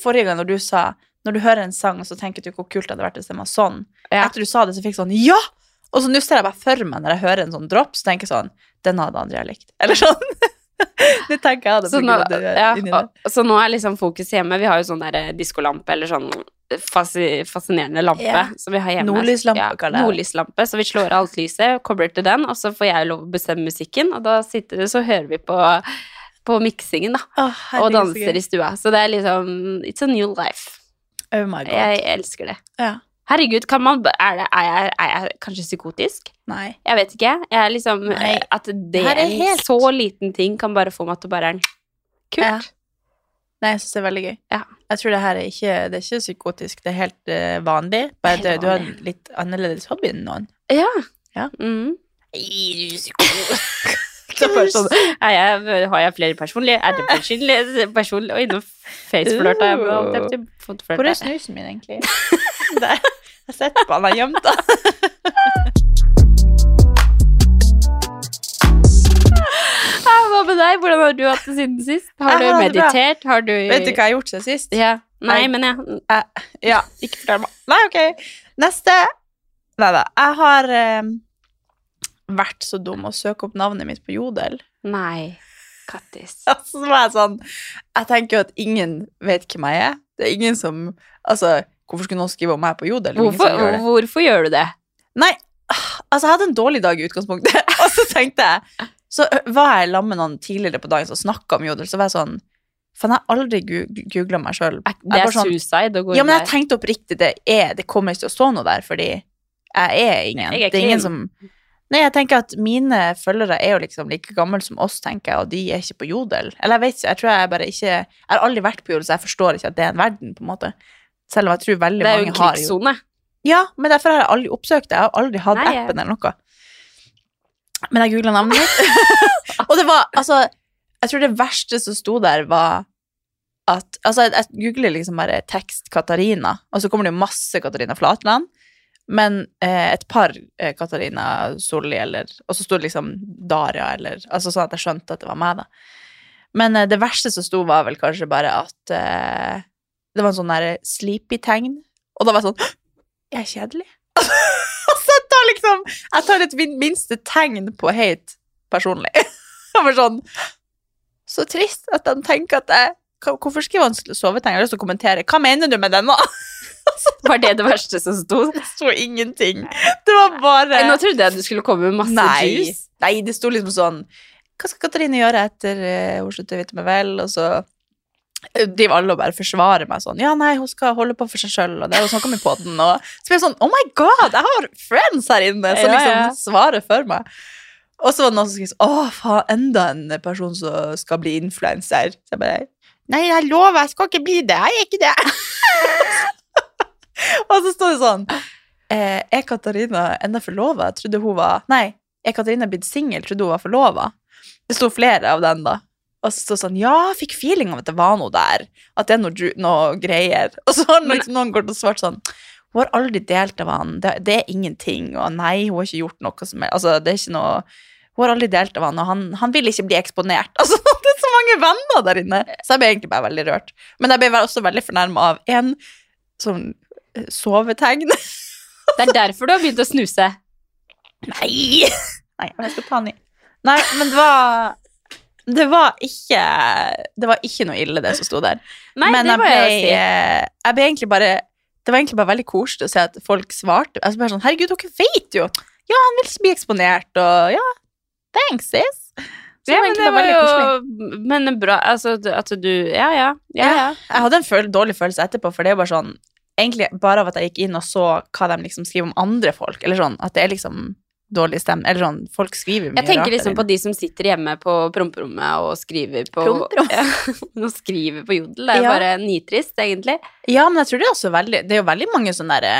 [SPEAKER 3] Forrige gang når du sa Når du hører en sang, så tenker du hvor kult det hadde vært hvis den var sånn.
[SPEAKER 4] Ja.
[SPEAKER 3] Etter du sa det, så fikk jeg sånn Ja! Og så nå ser jeg bare for meg når jeg hører en sånn dropp, så tenker jeg sånn Den hadde Andrea likt. Eller sånn. det tenker jeg hadde
[SPEAKER 4] så nå, ja,
[SPEAKER 3] inni det.
[SPEAKER 4] og- så nå er liksom fokuset hjemme. Vi har jo sånn der diskolampe, eller sånn fasi, fascinerende lampe
[SPEAKER 3] Ja.
[SPEAKER 4] som vi har hjemme.
[SPEAKER 3] Nordlyslampe,
[SPEAKER 4] ja,
[SPEAKER 3] kaller jeg det.
[SPEAKER 4] nordlyslampe, så vi slår av alt lyset, kobler til den, og så får jeg lov å bestemme musikken, og da sitter det, så hører vi på, på miksingen, da.
[SPEAKER 3] Å,
[SPEAKER 4] Og
[SPEAKER 3] herregud, så
[SPEAKER 4] danser
[SPEAKER 3] gøy.
[SPEAKER 4] i stua. Så det er liksom It's a new life.
[SPEAKER 3] Oh my god.
[SPEAKER 4] Jeg elsker det.
[SPEAKER 3] Ja.
[SPEAKER 4] Herregud, kan man, er, det, er, jeg, er jeg kanskje psykotisk?
[SPEAKER 3] Nei.
[SPEAKER 4] Jeg vet ikke. Jeg er liksom
[SPEAKER 3] Nei.
[SPEAKER 4] At det
[SPEAKER 3] Her er
[SPEAKER 4] er en
[SPEAKER 3] helt-
[SPEAKER 4] så liten ting kan bare få meg til å bare
[SPEAKER 3] Ja.
[SPEAKER 4] Kult.
[SPEAKER 3] Nei, jeg syns det er veldig gøy.
[SPEAKER 4] Ja.
[SPEAKER 3] Jeg tror det her er ikke, det er ikke psykotisk, det er helt eh, vanlig. Bare
[SPEAKER 4] Helt
[SPEAKER 3] det, du har en
[SPEAKER 4] vanlig.
[SPEAKER 3] litt annerledes hobby enn noen.
[SPEAKER 4] Ja.
[SPEAKER 3] Ja.
[SPEAKER 4] Mm.
[SPEAKER 3] Det er bare sånn,
[SPEAKER 4] Er jeg, har jeg flere personlige? Er det personlig? personlig? Og innom faceflørt har jeg alt jeg har fått flørt
[SPEAKER 3] Hvor er
[SPEAKER 4] der.
[SPEAKER 3] snusen min, egentlig? Der. Jeg setter på han, han er gjemt, da.
[SPEAKER 4] Ja, Hva med deg? Hvordan har du hatt det siden sist? Har
[SPEAKER 3] Jeg har hatt
[SPEAKER 4] du
[SPEAKER 3] det bra.
[SPEAKER 4] meditert? Har du
[SPEAKER 3] Vet du hva jeg har gjort siden sist?
[SPEAKER 4] Ja. Nei,
[SPEAKER 3] Nei.
[SPEAKER 4] men jeg
[SPEAKER 3] Ja, ikke fortell meg. Nei, ok. Neste. Nei da. Jeg har eh, vært så dum å søke opp navnet mitt på Jodel.
[SPEAKER 4] Nei. Kattis.
[SPEAKER 3] Altså, så var jeg sånn Jeg tenker jo at ingen vet hvem jeg er. Det er ingen som Altså, hvorfor skulle noen skrive om meg på Jodel? Det er ingen som
[SPEAKER 4] Hvorfor,
[SPEAKER 3] gjør det.
[SPEAKER 4] hvorfor gjør du det?
[SPEAKER 3] Nei, ah, altså jeg hadde en dårlig dag i utgangspunktet, og så tenkte jeg Så ø, var jeg sammen med noen tidligere på dagen som snakka om jodel, så var jeg sånn Faen, jeg har aldri googla meg sjøl.
[SPEAKER 4] Er- Det er suicide å gå
[SPEAKER 3] sånn- Ja,
[SPEAKER 4] inn
[SPEAKER 3] men jeg
[SPEAKER 4] der.
[SPEAKER 3] tenkte oppriktig det er Det kommer ikke til å stå noe der, fordi jeg er ingen.
[SPEAKER 4] Jeg er
[SPEAKER 3] det er ingen
[SPEAKER 4] clean.
[SPEAKER 3] som Nei, jeg tenker at mine følgere er jo liksom like gamle som oss, tenker jeg, og de er ikke på jodel. Eller jeg vet ikke, jeg tror jeg bare ikke Jeg har aldri vært på jodel, så jeg forstår ikke at det er en verden, på en måte. Selv om jeg tror veldig
[SPEAKER 4] Det er jo
[SPEAKER 3] mange
[SPEAKER 4] en
[SPEAKER 3] har jo
[SPEAKER 4] krigssone.
[SPEAKER 3] ja, men derfor har jeg aldri oppsøkt det. Jeg har aldri hatt
[SPEAKER 4] Nei, jeg-
[SPEAKER 3] appen eller noe. Men jeg googla navnet mitt. og det var altså Jeg tror det verste som sto der, var at Altså, jeg, jeg googler liksom bare tekst Katarina, og så kommer det jo masse Katarina Flatland. Men eh, et par eh, Katarina Solli eller Og så sto det liksom Daria eller Altså sånn at jeg skjønte at det var meg, da. Men eh, det verste som sto, var vel kanskje bare at eh, det var en sånn derre sleepy tegn. Og da var jeg sånn jeg er kjedelig. altså, jeg tar liksom Jeg tar et min- minste tegn på hate personlig. Jeg var sånn Så trist at de tenker at jeg hva- Hvorfor skriver han sovetegn? Jeg har lyst til å kommentere. Hva mener du med den, da?
[SPEAKER 4] Var det det verste som sto?
[SPEAKER 3] Det sto ingenting. Det var bare
[SPEAKER 4] Nei, Nå trodde jeg du skulle komme med masse
[SPEAKER 3] Nei.
[SPEAKER 4] juice.
[SPEAKER 3] Nei, det sto liksom sånn Hva skal Katarina gjøre etter eh, hun slutter å vite meg vel? Og så eh, driver alle og bare forsvarer meg sånn. Ja, nei, hun skal holde på for seg sjøl, og det har hun snakka om i poden. Og så blir jeg sånn Oh my god, jeg har friends her inne som
[SPEAKER 4] Ja,
[SPEAKER 3] liksom
[SPEAKER 4] ja.
[SPEAKER 3] svarer for meg. Og så var det noen som skrev sånn Å, faen, enda en person som skal bli influenser. Så jeg bare Nei, jeg lover, jeg skal ikke bli det. Jeg er ikke det. og så står det sånn eh, Er Katarina ennå forlova? Jeg trodde hun var Nei, er Katarina blitt singel? Trodde hun var forlova. Det sto flere av den, da. Og så sto det sånn Ja, jeg fikk feeling av at det var noe der. At det er noe, dru- noe greier. Og så har liksom noen gått og svart sånn Hun har aldri delt av han. Det, det er ingenting. Og nei, hun har ikke gjort noe som er Altså, det er ikke noe Hun har aldri delt av han, og han, han vil ikke bli eksponert. Altså, det er så mange venner der inne. Så jeg ble egentlig bare veldig rørt. Men jeg ble vel også veldig fornærma av en sånn eh, sovetegn.
[SPEAKER 4] Det er derfor du har begynt å snuse.
[SPEAKER 3] Nei! Nei, men jeg skal ta den i. Nei, men det var Det var ikke Det var ikke noe ille, det som sto der.
[SPEAKER 4] Nei,
[SPEAKER 3] men
[SPEAKER 4] det må jeg jo si.
[SPEAKER 3] eh, jeg ble egentlig bare Det var egentlig bare veldig koselig å se at folk svarte. Jeg bare sånn, Herregud, dere vet jo! Ja, han vil ikke bli eksponert, og ja Thanks, sis! Så det
[SPEAKER 4] Ja,
[SPEAKER 3] var
[SPEAKER 4] men
[SPEAKER 3] egentlig
[SPEAKER 4] det
[SPEAKER 3] bare
[SPEAKER 4] var
[SPEAKER 3] veldig koselig.
[SPEAKER 4] jo Men bra altså, at du Ja, ja. ja, ja.
[SPEAKER 3] Jeg hadde en føl dårlig følelse etterpå, for det er jo bare sånn Egentlig bare av at jeg gikk inn og så hva de liksom skriver om andre folk, eller sånn, at det er liksom dårlig stemme, eller sånn, folk skriver mye
[SPEAKER 4] Jeg tenker
[SPEAKER 3] der
[SPEAKER 4] liksom
[SPEAKER 3] inne.
[SPEAKER 4] på de som sitter hjemme på promperommet og skriver på
[SPEAKER 3] Promperom?
[SPEAKER 4] ja, og skriver på jodel. Det er
[SPEAKER 3] Ja.
[SPEAKER 4] bare nitrist, egentlig.
[SPEAKER 3] Ja, men jeg tror det er også veldig Det er jo veldig mange sånne derre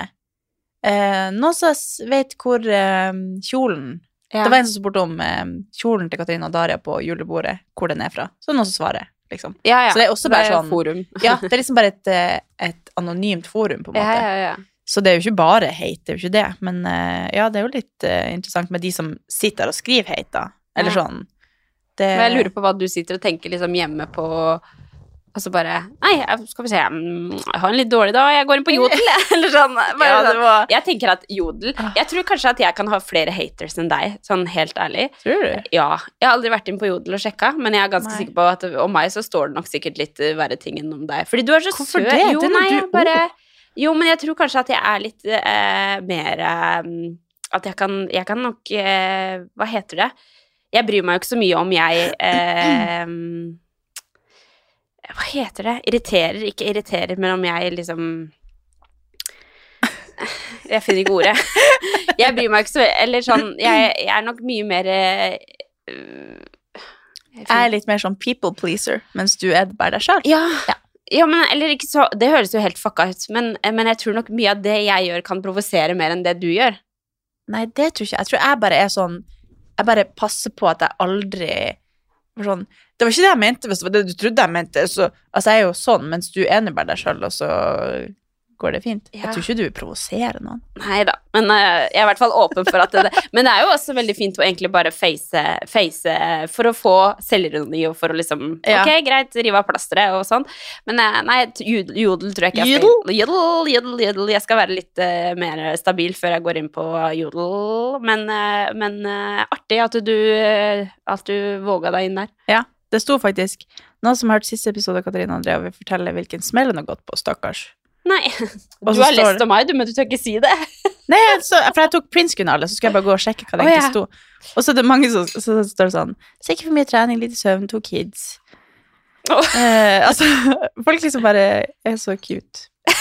[SPEAKER 3] eh, Noen som s- vet hvor eh, kjolen
[SPEAKER 4] Ja.
[SPEAKER 3] Det var en som spurte om eh, kjolen til Katarina og Daria på julebordet, hvor den er fra. Så er det noen som svarer, liksom.
[SPEAKER 4] Ja, ja.
[SPEAKER 3] Så det er også bare sånn-
[SPEAKER 4] forum.
[SPEAKER 3] Ja, det er liksom bare et, eh, et anonymt forum, på en
[SPEAKER 4] Ja,
[SPEAKER 3] måte.
[SPEAKER 4] ja, ja.
[SPEAKER 3] Så det er jo ikke bare hate, det er jo ikke det. Men eh, ja, det er jo litt eh, interessant med de som sitter der og skriver hate, da. Eller
[SPEAKER 4] Ja.
[SPEAKER 3] sånn. Det,
[SPEAKER 4] Men jeg lurer på hva du sitter og tenker liksom hjemme på Altså bare Nei, jeg- skal vi se mm, Jeg har en litt dårlig dag, jeg går inn på jodel, jeg», eller sånn. Bare
[SPEAKER 3] ja, det
[SPEAKER 4] sånn.
[SPEAKER 3] var,
[SPEAKER 4] Jeg tenker at jodel
[SPEAKER 3] Ah.
[SPEAKER 4] Jeg tror kanskje at jeg kan ha flere haters enn deg, sånn helt ærlig.
[SPEAKER 3] Tror du?
[SPEAKER 4] Ja. Jeg har aldri vært inn på Jodel og sjekka, men jeg er ganske
[SPEAKER 3] Nei.
[SPEAKER 4] sikker på at om meg så står det nok sikkert litt eh, verre ting enn om deg. Fordi du er så
[SPEAKER 3] Hvorfor
[SPEAKER 4] søt.
[SPEAKER 3] det?
[SPEAKER 4] Jo,
[SPEAKER 3] Den er
[SPEAKER 4] nei,
[SPEAKER 3] du-
[SPEAKER 4] jeg bare Jo, men jeg tror kanskje at jeg er litt eh, mer eh, At jeg kan Jeg kan nok eh, Hva heter det? Jeg bryr meg jo ikke så mye om jeg eh, Hva heter det? Irriterer, ikke irriterer, men om jeg liksom Jeg finner ikke ordet. Jeg bryr meg ikke så Eller sånn Jeg, jeg er nok mye mer eh,
[SPEAKER 3] Jeg er litt mer sånn people pleaser, mens du er bare deg sjøl.
[SPEAKER 4] Ja. Ja, men eller ikke så, Det høres jo helt fucka ut, men, eh, men jeg tror nok mye av det jeg gjør, kan provosere mer enn det du gjør.
[SPEAKER 3] Nei, det tror ikke jeg. Jeg tror jeg bare er sånn Jeg bare passer på at jeg aldri for sånn, Det var ikke det jeg mente, hvis det var det du trodde jeg mente. Så, altså, jeg er jo sånn, mens du er nå bare deg sjøl, og så går det fint.
[SPEAKER 4] Ja.
[SPEAKER 3] Jeg tror ikke du provoserer noen.
[SPEAKER 4] Nei da, men eh, jeg er i hvert fall åpen for at det Men det er jo også veldig fint å egentlig bare face, face eh, for å få selvironi og for å liksom
[SPEAKER 3] Ja.
[SPEAKER 4] Ok, greit, rive av plasteret og sånn. Men eh, nei, t- jodel, jodel tror jeg ikke jeg skal Jodel, jodel, jodel. Jeg skal være litt eh, mer stabil før jeg går inn på jodel. Men, eh, men eh, artig at du, eh, at du våga deg inn der.
[SPEAKER 3] Ja, det sto faktisk Noen som har hørt siste episode av Katarina og Andrea, vil fortelle hvilken smell hun har gått på, stakkars.
[SPEAKER 4] Nei,
[SPEAKER 3] Og
[SPEAKER 4] du
[SPEAKER 3] så står
[SPEAKER 4] har lest
[SPEAKER 3] det-
[SPEAKER 4] om meg, du, men du tør ikke si det.
[SPEAKER 3] Nei, så, for jeg tok prinskunnalet, så skulle jeg bare gå og sjekke hva det
[SPEAKER 4] Å,
[SPEAKER 3] egentlig
[SPEAKER 4] ja.
[SPEAKER 3] sto. Og så er det mange som så står det sånn Så ikke for mye trening, lite søvn, to kids.
[SPEAKER 4] Å.
[SPEAKER 3] Eh, altså, folk liksom bare er så cute.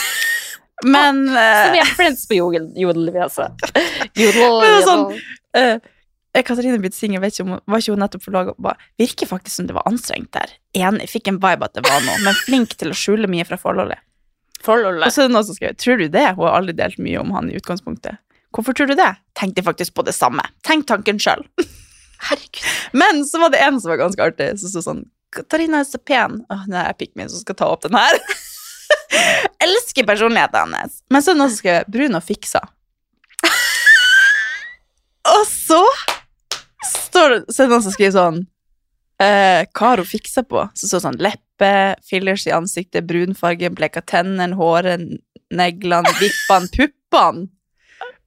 [SPEAKER 3] Men
[SPEAKER 4] Så vi
[SPEAKER 3] eh,
[SPEAKER 4] er friends på jodel, jodel vi, altså.
[SPEAKER 3] Men
[SPEAKER 4] Jodel,
[SPEAKER 3] det er
[SPEAKER 4] jodel.
[SPEAKER 3] sånn- eh, Katarina blitt singel, vet ikke om hun- var ikke hun nettopp forlaga og bare Virker faktisk som det var anstrengt der. Enig, fikk en vibe at det var noe, men flink til å skjule mye fra forholdet. Og så er det noen som skriver Tror du det? Hun har aldri delt mye om han i utgangspunktet. Hvorfor tror du det? Tenkte faktisk på det samme. Tenk tanken sjøl. Men så var det en som var ganske artig, som sto sånn Katarina er så pen. Åh, nå er jeg pikken min som skal ta opp den her. Elsker personligheten hennes. Men så er det noen som skrev Brun og fiksa. og så står det, så er det noen som skriver sånn eh, Hva har hun fiksa på? Så så sånn leppe, fillers i ansiktet, brunfarge, bleka tennene, håret, neglene, vippene, puppene.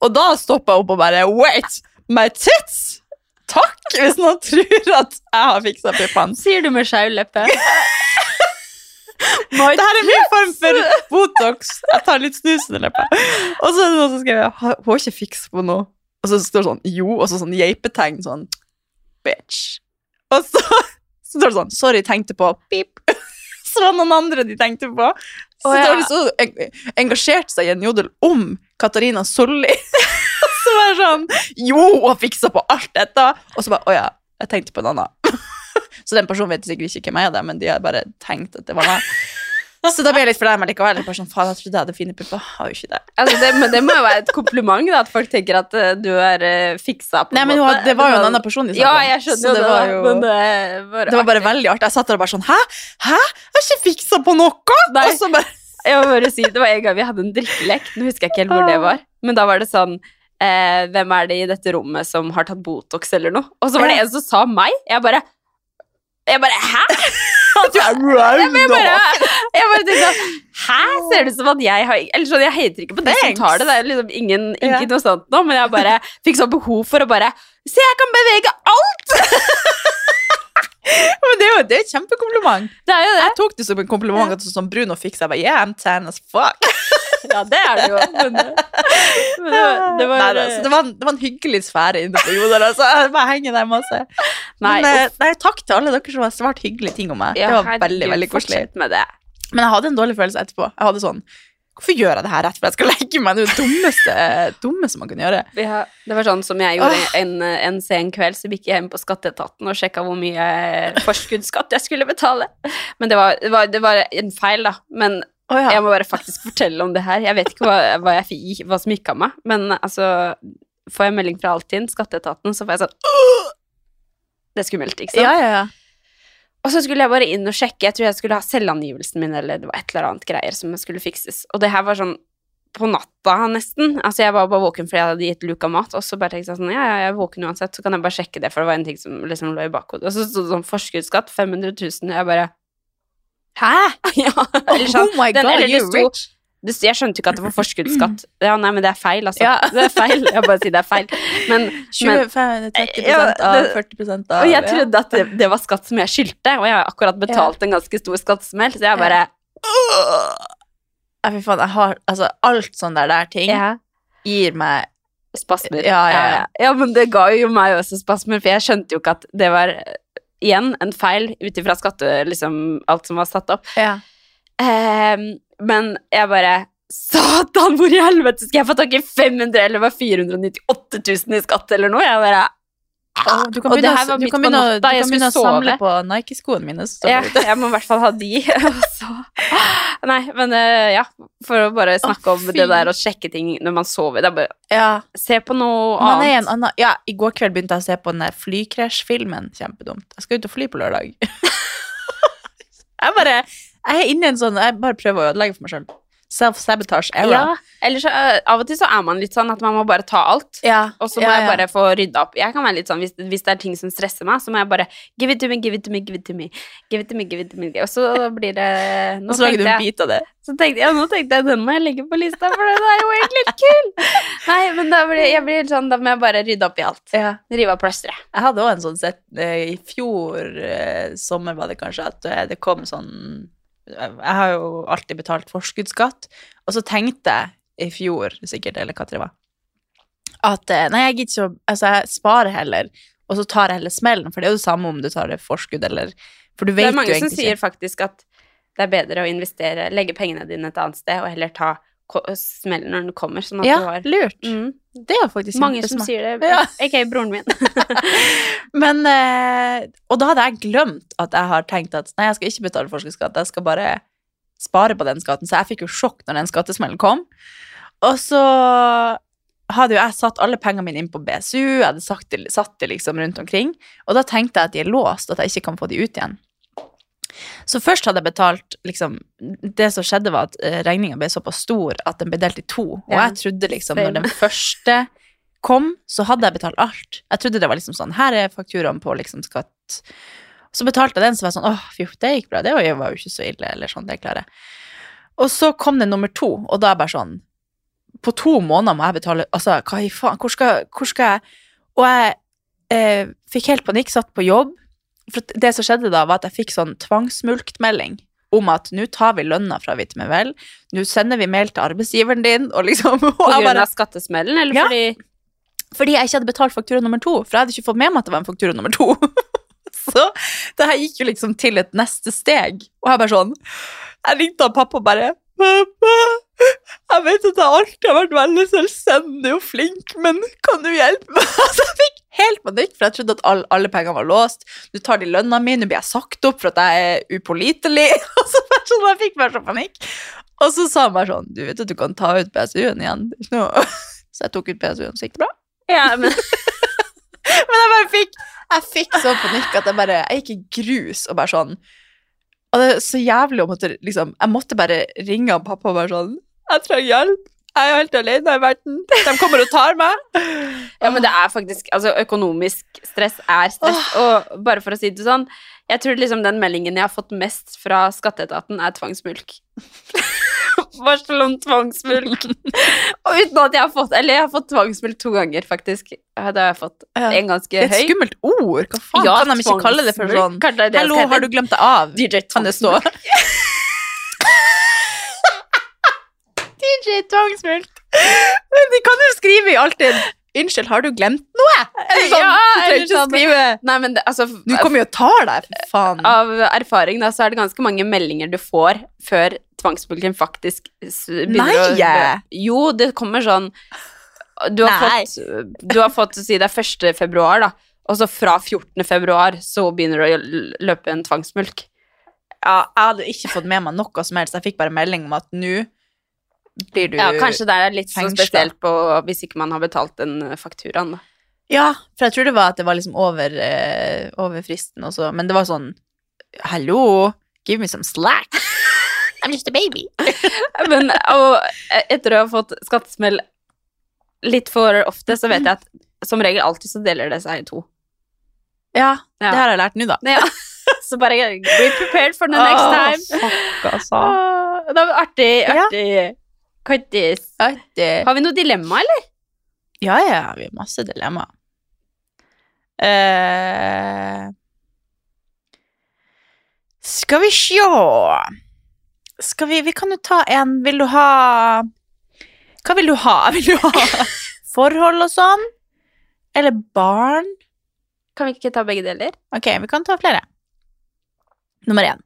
[SPEAKER 3] Og da stoppa jeg opp og bare Wait! My tits! Takk, hvis noen tror at jeg har fiksa puppene.
[SPEAKER 4] Sier du med skeiv leppe?
[SPEAKER 3] Det her er min form for Botox. Jeg tar litt snus under leppa. Og så er det noen som skriver «Ha- Hun har ikke fiks på noe. Og så står det sånn jo, og så sånn geipetegn sånn bitch. Og så, så står det sånn sorry, tenkte på pip. Så var det noen andre de tenkte på. Så
[SPEAKER 4] Å, ja.
[SPEAKER 3] står det så eng- engasjerte seg i en jodel om Katarina Solli. Og så var det sånn jo, hun fiksa på alt dette. Og så bare å ja, jeg tenkte på en annen. Så den personen vet sikkert ikke hvem jeg er, da, men de har bare tenkt at det var meg. Så da ble jeg litt flau, men likevel. Bare sånn, faen, jeg trodde jeg hadde fine pupper. Har jo ikke det.
[SPEAKER 4] Altså, det, men det må jo være et kompliment, da, at folk tenker at eh, du er eh, fiksa på
[SPEAKER 3] Nei,
[SPEAKER 4] en
[SPEAKER 3] men
[SPEAKER 4] måte.
[SPEAKER 3] hun- det var jo en annen person de snakket
[SPEAKER 4] Ja,
[SPEAKER 3] om,
[SPEAKER 4] jeg skjønner
[SPEAKER 3] så
[SPEAKER 4] jo
[SPEAKER 3] det
[SPEAKER 4] det,
[SPEAKER 3] var
[SPEAKER 4] da,
[SPEAKER 3] jo-
[SPEAKER 4] men eh, det var,
[SPEAKER 3] Det var bare veldig artig. Jeg satt der og bare sånn Hæ? Hæ? Jeg har ikke fiksa på noe!
[SPEAKER 4] Nei.
[SPEAKER 3] Og så bare
[SPEAKER 4] Jeg må bare si, det var en gang vi hadde en drikkelek, nå husker jeg ikke helt hvor det var, men da var det sånn, eh, hvem er det i dette rommet som har tatt Botox eller noe? Og så var det en som sa meg, jeg bare, jeg bare, hæ?
[SPEAKER 3] Du er
[SPEAKER 4] Jeg
[SPEAKER 3] round
[SPEAKER 4] bare, jeg bare tenkte sånn, hæ? Ser det ut som at jeg har Eller sånn, jeg hater ikke på de som
[SPEAKER 3] Thanks.
[SPEAKER 4] tar det, det er liksom ingen,
[SPEAKER 3] Ja.
[SPEAKER 4] ikke noe sånt nå, men jeg bare fikk sånn behov for å bare Se, jeg kan bevege alt!
[SPEAKER 3] Men det er jo det er et kjempekompliment.
[SPEAKER 4] Det er jo det.
[SPEAKER 3] Jeg tok det som en kompliment at du er sånn brun og fiksa. Jeg bare yeah, I'm tan as fuck.
[SPEAKER 4] Ja, det er det jo. Men,
[SPEAKER 3] eh,
[SPEAKER 4] men det, var- det var
[SPEAKER 3] Nei, da, så det, var en, det var en hyggelig sfære inne på Jodel. Altså. Jeg bare henger der masse.
[SPEAKER 4] Nei,
[SPEAKER 3] Men, eh, nei, takk til alle dere som har svart hyggelige ting om meg.
[SPEAKER 4] Ja,
[SPEAKER 3] det var
[SPEAKER 4] herregud,
[SPEAKER 3] veldig, veldig koselig.
[SPEAKER 4] Fortsett med det.
[SPEAKER 3] Men jeg hadde en dårlig følelse etterpå. Jeg hadde sånn Hvorfor gjør jeg det her rett før jeg skal legge meg? Det er jo det dummeste, eh, dummeste man kan gjøre.
[SPEAKER 4] Ja, det var sånn som jeg gjorde en, en sen kveld, så gikk jeg hjem på skatteetaten og sjekka hvor mye forskuddsskatt jeg skulle betale. Men det var, det var, det var en feil, da. Men
[SPEAKER 3] Å ja.
[SPEAKER 4] jeg må bare faktisk fortelle om det her. Jeg vet ikke hva, hva, jeg fikk, hva som gikk av meg, men altså Får jeg melding fra Altinn, skatteetaten, så får jeg sånn «Åh!» Det er skummelt, ikke sant?
[SPEAKER 3] Ja, ja, ja.
[SPEAKER 4] Og så skulle jeg bare inn og sjekke. Jeg tror jeg skulle ha selvangivelsen min, eller det var et eller annet greier som skulle fikses. Og det her var sånn på natta nesten. Altså jeg var bare våken fordi jeg hadde gitt Luka mat, og så bare tenkte jeg sånn, ja, ja, jeg er våken uansett, så kan jeg bare sjekke det, for det var en ting som liksom lå i bakhodet. Og så stod det sånn forskuddsskatt, 500 000, og jeg bare,
[SPEAKER 3] Hæ?
[SPEAKER 4] ja, eller sånn.
[SPEAKER 3] oh my
[SPEAKER 4] Den-
[SPEAKER 3] god,
[SPEAKER 4] eller det
[SPEAKER 3] you're
[SPEAKER 4] sto-
[SPEAKER 3] rich.
[SPEAKER 4] Det, jeg skjønte jo ikke at det var forskuddsskatt. Ja, nei, men det er feil, altså.
[SPEAKER 3] Ja.
[SPEAKER 4] Det er feil, jeg bare sier det er feil. Men, men
[SPEAKER 3] 25-30
[SPEAKER 4] Ja,
[SPEAKER 3] eh, av
[SPEAKER 4] det-
[SPEAKER 3] 40 av
[SPEAKER 4] og jeg
[SPEAKER 3] ja.
[SPEAKER 4] trodde at det, det var skatt som jeg skyldte, og jeg har akkurat betalt en ganske stor skattesmell, så jeg bare,
[SPEAKER 3] Ja, fy faen, jeg har altså alt sånn der, der ting
[SPEAKER 4] ja.
[SPEAKER 3] gir meg
[SPEAKER 4] Spasmer.
[SPEAKER 3] Ja, ja, ja.
[SPEAKER 4] ja, men det ga jo meg også spasmer, for jeg skjønte jo ikke at det var eh, igjen en feil ut ifra skatte, liksom alt som var satt opp. Ehm, men jeg bare Satan, hvor i helvete skal jeg få tak i 500 eller var 498 000 i skatt eller noe? Jeg bare
[SPEAKER 3] Åh, du kan
[SPEAKER 4] Og det
[SPEAKER 3] begynne,
[SPEAKER 4] her
[SPEAKER 3] å-
[SPEAKER 4] var
[SPEAKER 3] du
[SPEAKER 4] midt
[SPEAKER 3] kan
[SPEAKER 4] på
[SPEAKER 3] begynne, å-
[SPEAKER 4] natta,
[SPEAKER 3] du
[SPEAKER 4] jeg
[SPEAKER 3] kan
[SPEAKER 4] skulle
[SPEAKER 3] begynne å samle
[SPEAKER 4] sove.
[SPEAKER 3] på Nike-skoene mine. Så står
[SPEAKER 4] Ja,
[SPEAKER 3] det ute.
[SPEAKER 4] jeg må i hvert fall ha de. og så- Nei, men eh, ja, for å bare snakke om
[SPEAKER 3] fy.
[SPEAKER 4] det der å sjekke ting når man sover. Det er bare
[SPEAKER 3] ja.
[SPEAKER 4] se på noe
[SPEAKER 3] Man er i
[SPEAKER 4] annet.
[SPEAKER 3] en annen, ja, I går kveld begynte jeg å se på den der flykrasj-filmen. Kjempedumt. Jeg skal ut og fly på lørdag. jeg bare Jeg er inne i en sånn Jeg bare prøver å ødelegge for meg sjøl. Self-sabotage
[SPEAKER 4] Ja,
[SPEAKER 3] era.
[SPEAKER 4] eller så eh, Av og til så er man litt sånn at man må bare ta alt. Og så må
[SPEAKER 3] ja,
[SPEAKER 4] jeg
[SPEAKER 3] ja.
[SPEAKER 4] bare få rydda opp. Jeg kan være litt sånn, hvis, hvis det er ting som stresser meg, så må jeg bare give it to me, give it to me, give it to me. Give it to me, give it to me. Og så blir det
[SPEAKER 3] Og
[SPEAKER 4] Nå
[SPEAKER 3] så lager du
[SPEAKER 4] tenkte
[SPEAKER 3] en
[SPEAKER 4] jeg,
[SPEAKER 3] bit av det.
[SPEAKER 4] så tenkte, jeg- ja, nå tenkte jeg den må jeg legge på lista, for den er jo egentlig litt kul. Nei, men da blir jeg blir sånn, da må jeg bare rydde opp i alt.
[SPEAKER 3] Ja.
[SPEAKER 4] Rive av plasteret.
[SPEAKER 3] Jeg hadde òg en sånn sett eh, I fjor eh, sommer var det kanskje at eh, det kom sånn Jeg jeg har jo alltid betalt forskuddsskatt, og så tenkte jeg i fjor sikkert, eller hva det var, at eh, nei, jeg gidder ikke å Altså, jeg sparer heller, og så tar jeg heller smellen, for det er jo det samme om du tar det forskudd eller For du
[SPEAKER 4] Det
[SPEAKER 3] vet
[SPEAKER 4] er mange
[SPEAKER 3] jo
[SPEAKER 4] som
[SPEAKER 3] egentlig
[SPEAKER 4] sier faktisk at det er bedre å investere, legge pengene dine et annet sted, og heller ta ko- smellen når den kommer, sånn at
[SPEAKER 3] Ja,
[SPEAKER 4] du har
[SPEAKER 3] lurt.
[SPEAKER 4] mm.
[SPEAKER 3] Det er faktisk
[SPEAKER 4] Mange som
[SPEAKER 3] kjempesmart.
[SPEAKER 4] sier det,
[SPEAKER 3] Ja.
[SPEAKER 4] ikke broren min.
[SPEAKER 3] Men, eh, og da hadde jeg glemt at jeg har tenkt at nei, jeg skal ikke betale forskuddsskatt, jeg skal bare spare på den skatten. Så jeg fikk jo sjokk når den skattesmellen kom. Og så hadde jo jeg satt alle pengene mine inn på BSU, jeg hadde sagt det, satt det liksom rundt omkring, og da tenkte jeg at de er låst, at jeg ikke kan få de ut igjen. Så først hadde jeg betalt liksom, Det som skjedde, var at eh, regninga ble såpass stor at den ble delt i to. Og
[SPEAKER 4] Ja.
[SPEAKER 3] jeg trodde liksom,
[SPEAKER 4] Same.
[SPEAKER 3] når den første kom, så hadde jeg betalt alt. Jeg trodde det var liksom sånn Her er fakturaen på liksom skatt. Så betalte jeg den, så var jeg sånn Åh, fy, det gikk bra. Det var jo ikke så ille, eller sånn. Det klarer jeg. Og så kom det nummer to, og da er jeg bare sånn På to måneder må jeg betale Altså, hva i faen? Hvor skal, hvor skal jeg Og jeg eh, fikk helt panikk, satt på jobb. For at det som skjedde da, var at jeg fikk sånn tvangsmulktmelding om at nå tar vi lønna fra Vitt med vel, nå sender vi mail til arbeidsgiveren din, og liksom og
[SPEAKER 4] På
[SPEAKER 3] jeg
[SPEAKER 4] grunn
[SPEAKER 3] bare,
[SPEAKER 4] av skattesmellen, eller
[SPEAKER 3] Ja.
[SPEAKER 4] fordi
[SPEAKER 3] Fordi jeg ikke hadde betalt faktura nummer to, for jeg hadde ikke fått med meg at det var en faktura nummer to. Så det her gikk jo liksom til et neste steg, og jeg bare sånn Jeg ringte han pappa og bare Pappa, jeg vet at jeg alltid har vært veldig selvstendig og flink, men kan du hjelpe meg? Så jeg fikk helt panikk, for jeg trodde at alle, alle pengene var låst. Du tar de lønna mi, nå blir jeg sagt opp for at jeg er upålitelig. Og så bare sånn, jeg fikk bare så panikk. Og så sa han bare sånn Du vet at du kan ta ut PSU-en igjen. Det er ikke noe. Så jeg tok ut PSU-en, så gikk det bra.
[SPEAKER 4] Ja, men
[SPEAKER 3] Men jeg bare fikk Jeg fikk så panikk at jeg bare Jeg gikk i grus og bare sånn Og det er så jævlig å måtte liksom Jeg måtte bare ringe han pappa og bare sånn Jeg trenger hjelp jeg er helt alene i verden. De kommer og tar meg.
[SPEAKER 4] Ja, men det er faktisk Altså, økonomisk stress er stress. Og bare for å si det sånn, jeg tror liksom den meldingen jeg har fått mest fra skatteetaten, er tvangsmulk. Varsel om tvangsmulk. og uten at jeg har fått Eller jeg har fått tvangsmulk to ganger, faktisk. Ja, Det har jeg fått.
[SPEAKER 3] Ja.
[SPEAKER 4] En
[SPEAKER 3] Det
[SPEAKER 4] ganske
[SPEAKER 3] er et
[SPEAKER 4] høy.
[SPEAKER 3] skummelt ord. Hva faen
[SPEAKER 4] Ja,
[SPEAKER 3] kan de ikke kalle det for
[SPEAKER 4] tvangsmulk.
[SPEAKER 3] sånn?
[SPEAKER 4] Kanskje det er det
[SPEAKER 3] Hallo,
[SPEAKER 4] det skal
[SPEAKER 3] har du
[SPEAKER 4] hete.
[SPEAKER 3] glemt deg av?
[SPEAKER 4] DJ
[SPEAKER 3] Kan det stå? DJ Tvangsmulk. Men de kan jo skrive i alltid 'Unnskyld, har du glemt noe?' Eller sånn. du
[SPEAKER 4] Ja,
[SPEAKER 3] trenger
[SPEAKER 4] eller
[SPEAKER 3] ikke
[SPEAKER 4] sånn.
[SPEAKER 3] skrive
[SPEAKER 4] Nei, men det, altså
[SPEAKER 3] Du kommer jo og tar deg, for faen.
[SPEAKER 4] av erfaring da, så er det ganske mange meldinger du får før tvangsmulken faktisk s- begynner
[SPEAKER 3] Nei!
[SPEAKER 4] å Jo, det kommer sånn Du har
[SPEAKER 3] Nei.
[SPEAKER 4] fått, du har fått si det er 1. februar, da, og så fra 14. februar så begynner du å l- løpe en tvangsmulk.
[SPEAKER 3] Ja, jeg hadde ikke fått med meg noe som helst. Jeg fikk bare melding om at nå blir du
[SPEAKER 4] Ja, kanskje det er litt så
[SPEAKER 3] fengsla.
[SPEAKER 4] spesielt på hvis ikke man har betalt den eh, fakturaen, da.
[SPEAKER 3] Ja, for jeg tror det var at det var liksom over, eh, over fristen også. Men det var sånn Hallo, give me some slack. I'm just a baby.
[SPEAKER 4] Men og, eh, etter å ha fått skattesmell litt for ofte, så vet jeg at som regel alltid så deler det seg i to.
[SPEAKER 3] Ja,
[SPEAKER 4] Ja.
[SPEAKER 3] det har jeg lært nå, da.
[SPEAKER 4] Ja. Så bare be prepared for the next time.
[SPEAKER 3] altså.
[SPEAKER 4] Åh, det var artig, artig. Kattis.
[SPEAKER 3] Artig.
[SPEAKER 4] Har vi noe dilemma, eller?
[SPEAKER 3] Ja, ja, vi har masse dilemmaer. Eh, skal vi sjå Skal vi Vi kan jo ta en Vil du ha Hva vil du ha? Vil du ha forhold og sånn? Eller barn?
[SPEAKER 4] Kan vi ikke ta begge deler?
[SPEAKER 3] Ok, vi kan ta flere. Nummer én.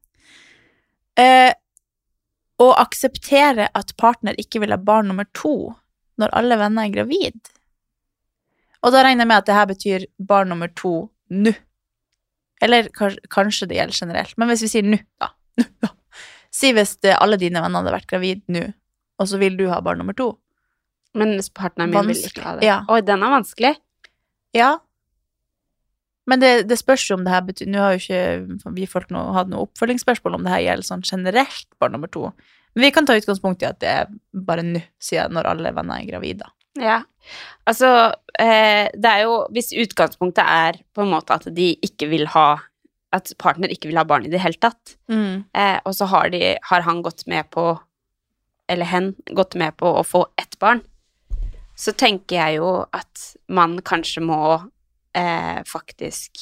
[SPEAKER 3] Eh, å akseptere at partner ikke vil ha barn nummer to når alle venner er gravid. Og da regner jeg med at det her betyr barn nummer to nå. Eller kans- kanskje det gjelder generelt, men hvis vi sier nå, da. Nå, da. Si hvis det, alle dine venner hadde vært gravid nå, og så vil du ha barn nummer to.
[SPEAKER 4] Men partneren min vil ikke
[SPEAKER 3] Vanskelig,
[SPEAKER 4] ha det.
[SPEAKER 3] ja.
[SPEAKER 4] Oi, den er vanskelig.
[SPEAKER 3] Ja. Men det, det spørs jo om det her betyr Nå har jo ikke vi folk noe, hatt noe oppfølgingsspørsmål om det her gjelder sånn generelt barn nummer to. Men vi kan ta utgangspunkt i at det er bare nå, siden når alle venner er gravide.
[SPEAKER 4] Ja. Altså, eh, det er jo Hvis utgangspunktet er på en måte at de ikke vil ha At partner ikke vil ha barn i det hele tatt, eh, og så har, de, har han gått med på Eller hen gått med på å få ett barn, så tenker jeg jo at man kanskje må eh, faktisk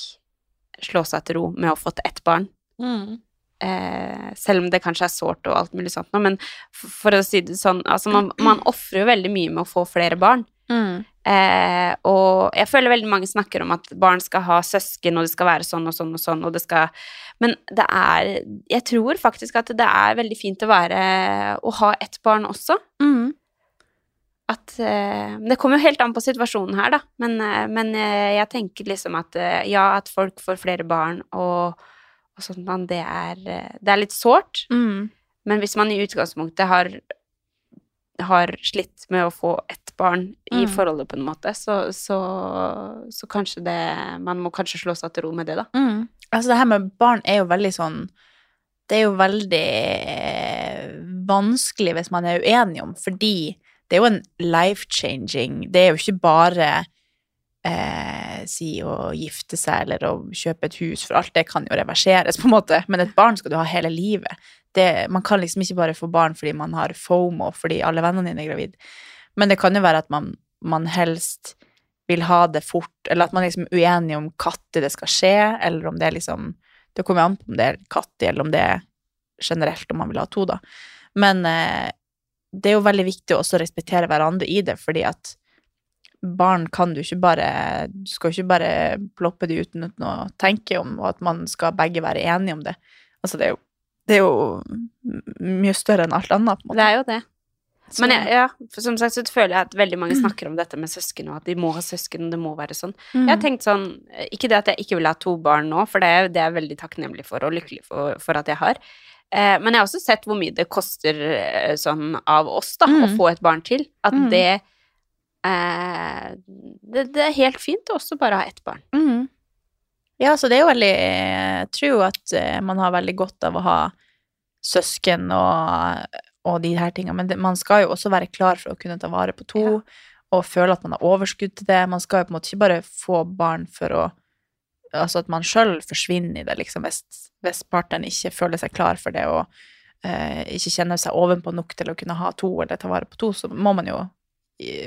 [SPEAKER 4] slå seg til ro med å ha fått ett barn. Eh, selv om det kanskje er sårt og alt mulig sånt nå, men for, for å si det sånn, altså man, man ofrer jo veldig mye med å få flere barn. Eh, og jeg føler veldig mange snakker om at barn skal ha søsken, og det skal være sånn og sånn og sånn, og det skal Men det er Jeg tror faktisk at det er veldig fint å være Å ha ett barn også.
[SPEAKER 3] Mm.
[SPEAKER 4] At eh, Det kommer jo helt an på situasjonen her, da, men, eh, men eh, jeg tenker liksom at eh, ja, at folk får flere barn og, og sånt, men det er, eh, det er litt sårt.
[SPEAKER 3] Mm.
[SPEAKER 4] Men hvis man i utgangspunktet har, har slitt med å få ett barn i
[SPEAKER 3] Mm.
[SPEAKER 4] forholdet, på en måte, så, så, så kanskje det Man må kanskje slå seg til ro med det, da.
[SPEAKER 3] Altså det her med barn er jo veldig sånn Det er jo veldig eh, vanskelig hvis man er uenig om, fordi det er jo en life-changing. Det er jo ikke bare eh, si å gifte seg eller å kjøpe et hus, for alt det kan jo reverseres, på en måte. Men et barn skal du ha hele livet. Det, man kan liksom ikke bare få barn fordi man har FOMO, fordi alle vennene dine er gravid. Men det kan jo være at man, man helst vil ha det fort, eller at man liksom er uenig om katter det skal skje, eller om det er liksom Det kommer jo an på om det er katter, eller om det er generelt om man vil ha to, da. Men eh, det er jo veldig viktig å også respektere hverandre i det, fordi at barn kan du ikke bare Du skal jo ikke bare ploppe de uten uten å tenke om, og at man skal begge være enige om det. Altså, det er jo, det er jo m- mye større enn alt annet, på en måte.
[SPEAKER 4] Det er jo det.
[SPEAKER 3] Så-
[SPEAKER 4] Men jeg, ja, for som sagt så føler jeg at veldig mange snakker om dette med søsken, og at de må ha søsken, og det må være sånn. Jeg
[SPEAKER 3] Mm.
[SPEAKER 4] har tenkt sånn, Ikke det at jeg ikke vil ha to barn nå, for det, er- det er jeg veldig takknemlig for og lykkelig for, for at jeg har. Eh, men jeg har også sett hvor mye det koster eh, sånn av oss da, å
[SPEAKER 3] Mm.
[SPEAKER 4] få et barn til. At
[SPEAKER 3] Mm.
[SPEAKER 4] det, eh, det Det er helt fint å også bare ha ett barn.
[SPEAKER 3] Mm. Ja, så det er jo veldig Jeg tror jo at eh, man har veldig godt av å ha søsken og, og de her tingene, men det, man skal jo også være klar for å kunne ta vare på to, og føle at man har overskudd til det. Man skal jo på en måte ikke bare få barn for å Altså at man sjøl forsvinner i det, liksom, hvis, hvis partneren ikke føler seg klar for det og eh, ikke kjenner seg ovenpå nok til å kunne ha to eller ta vare på to, så må man jo i,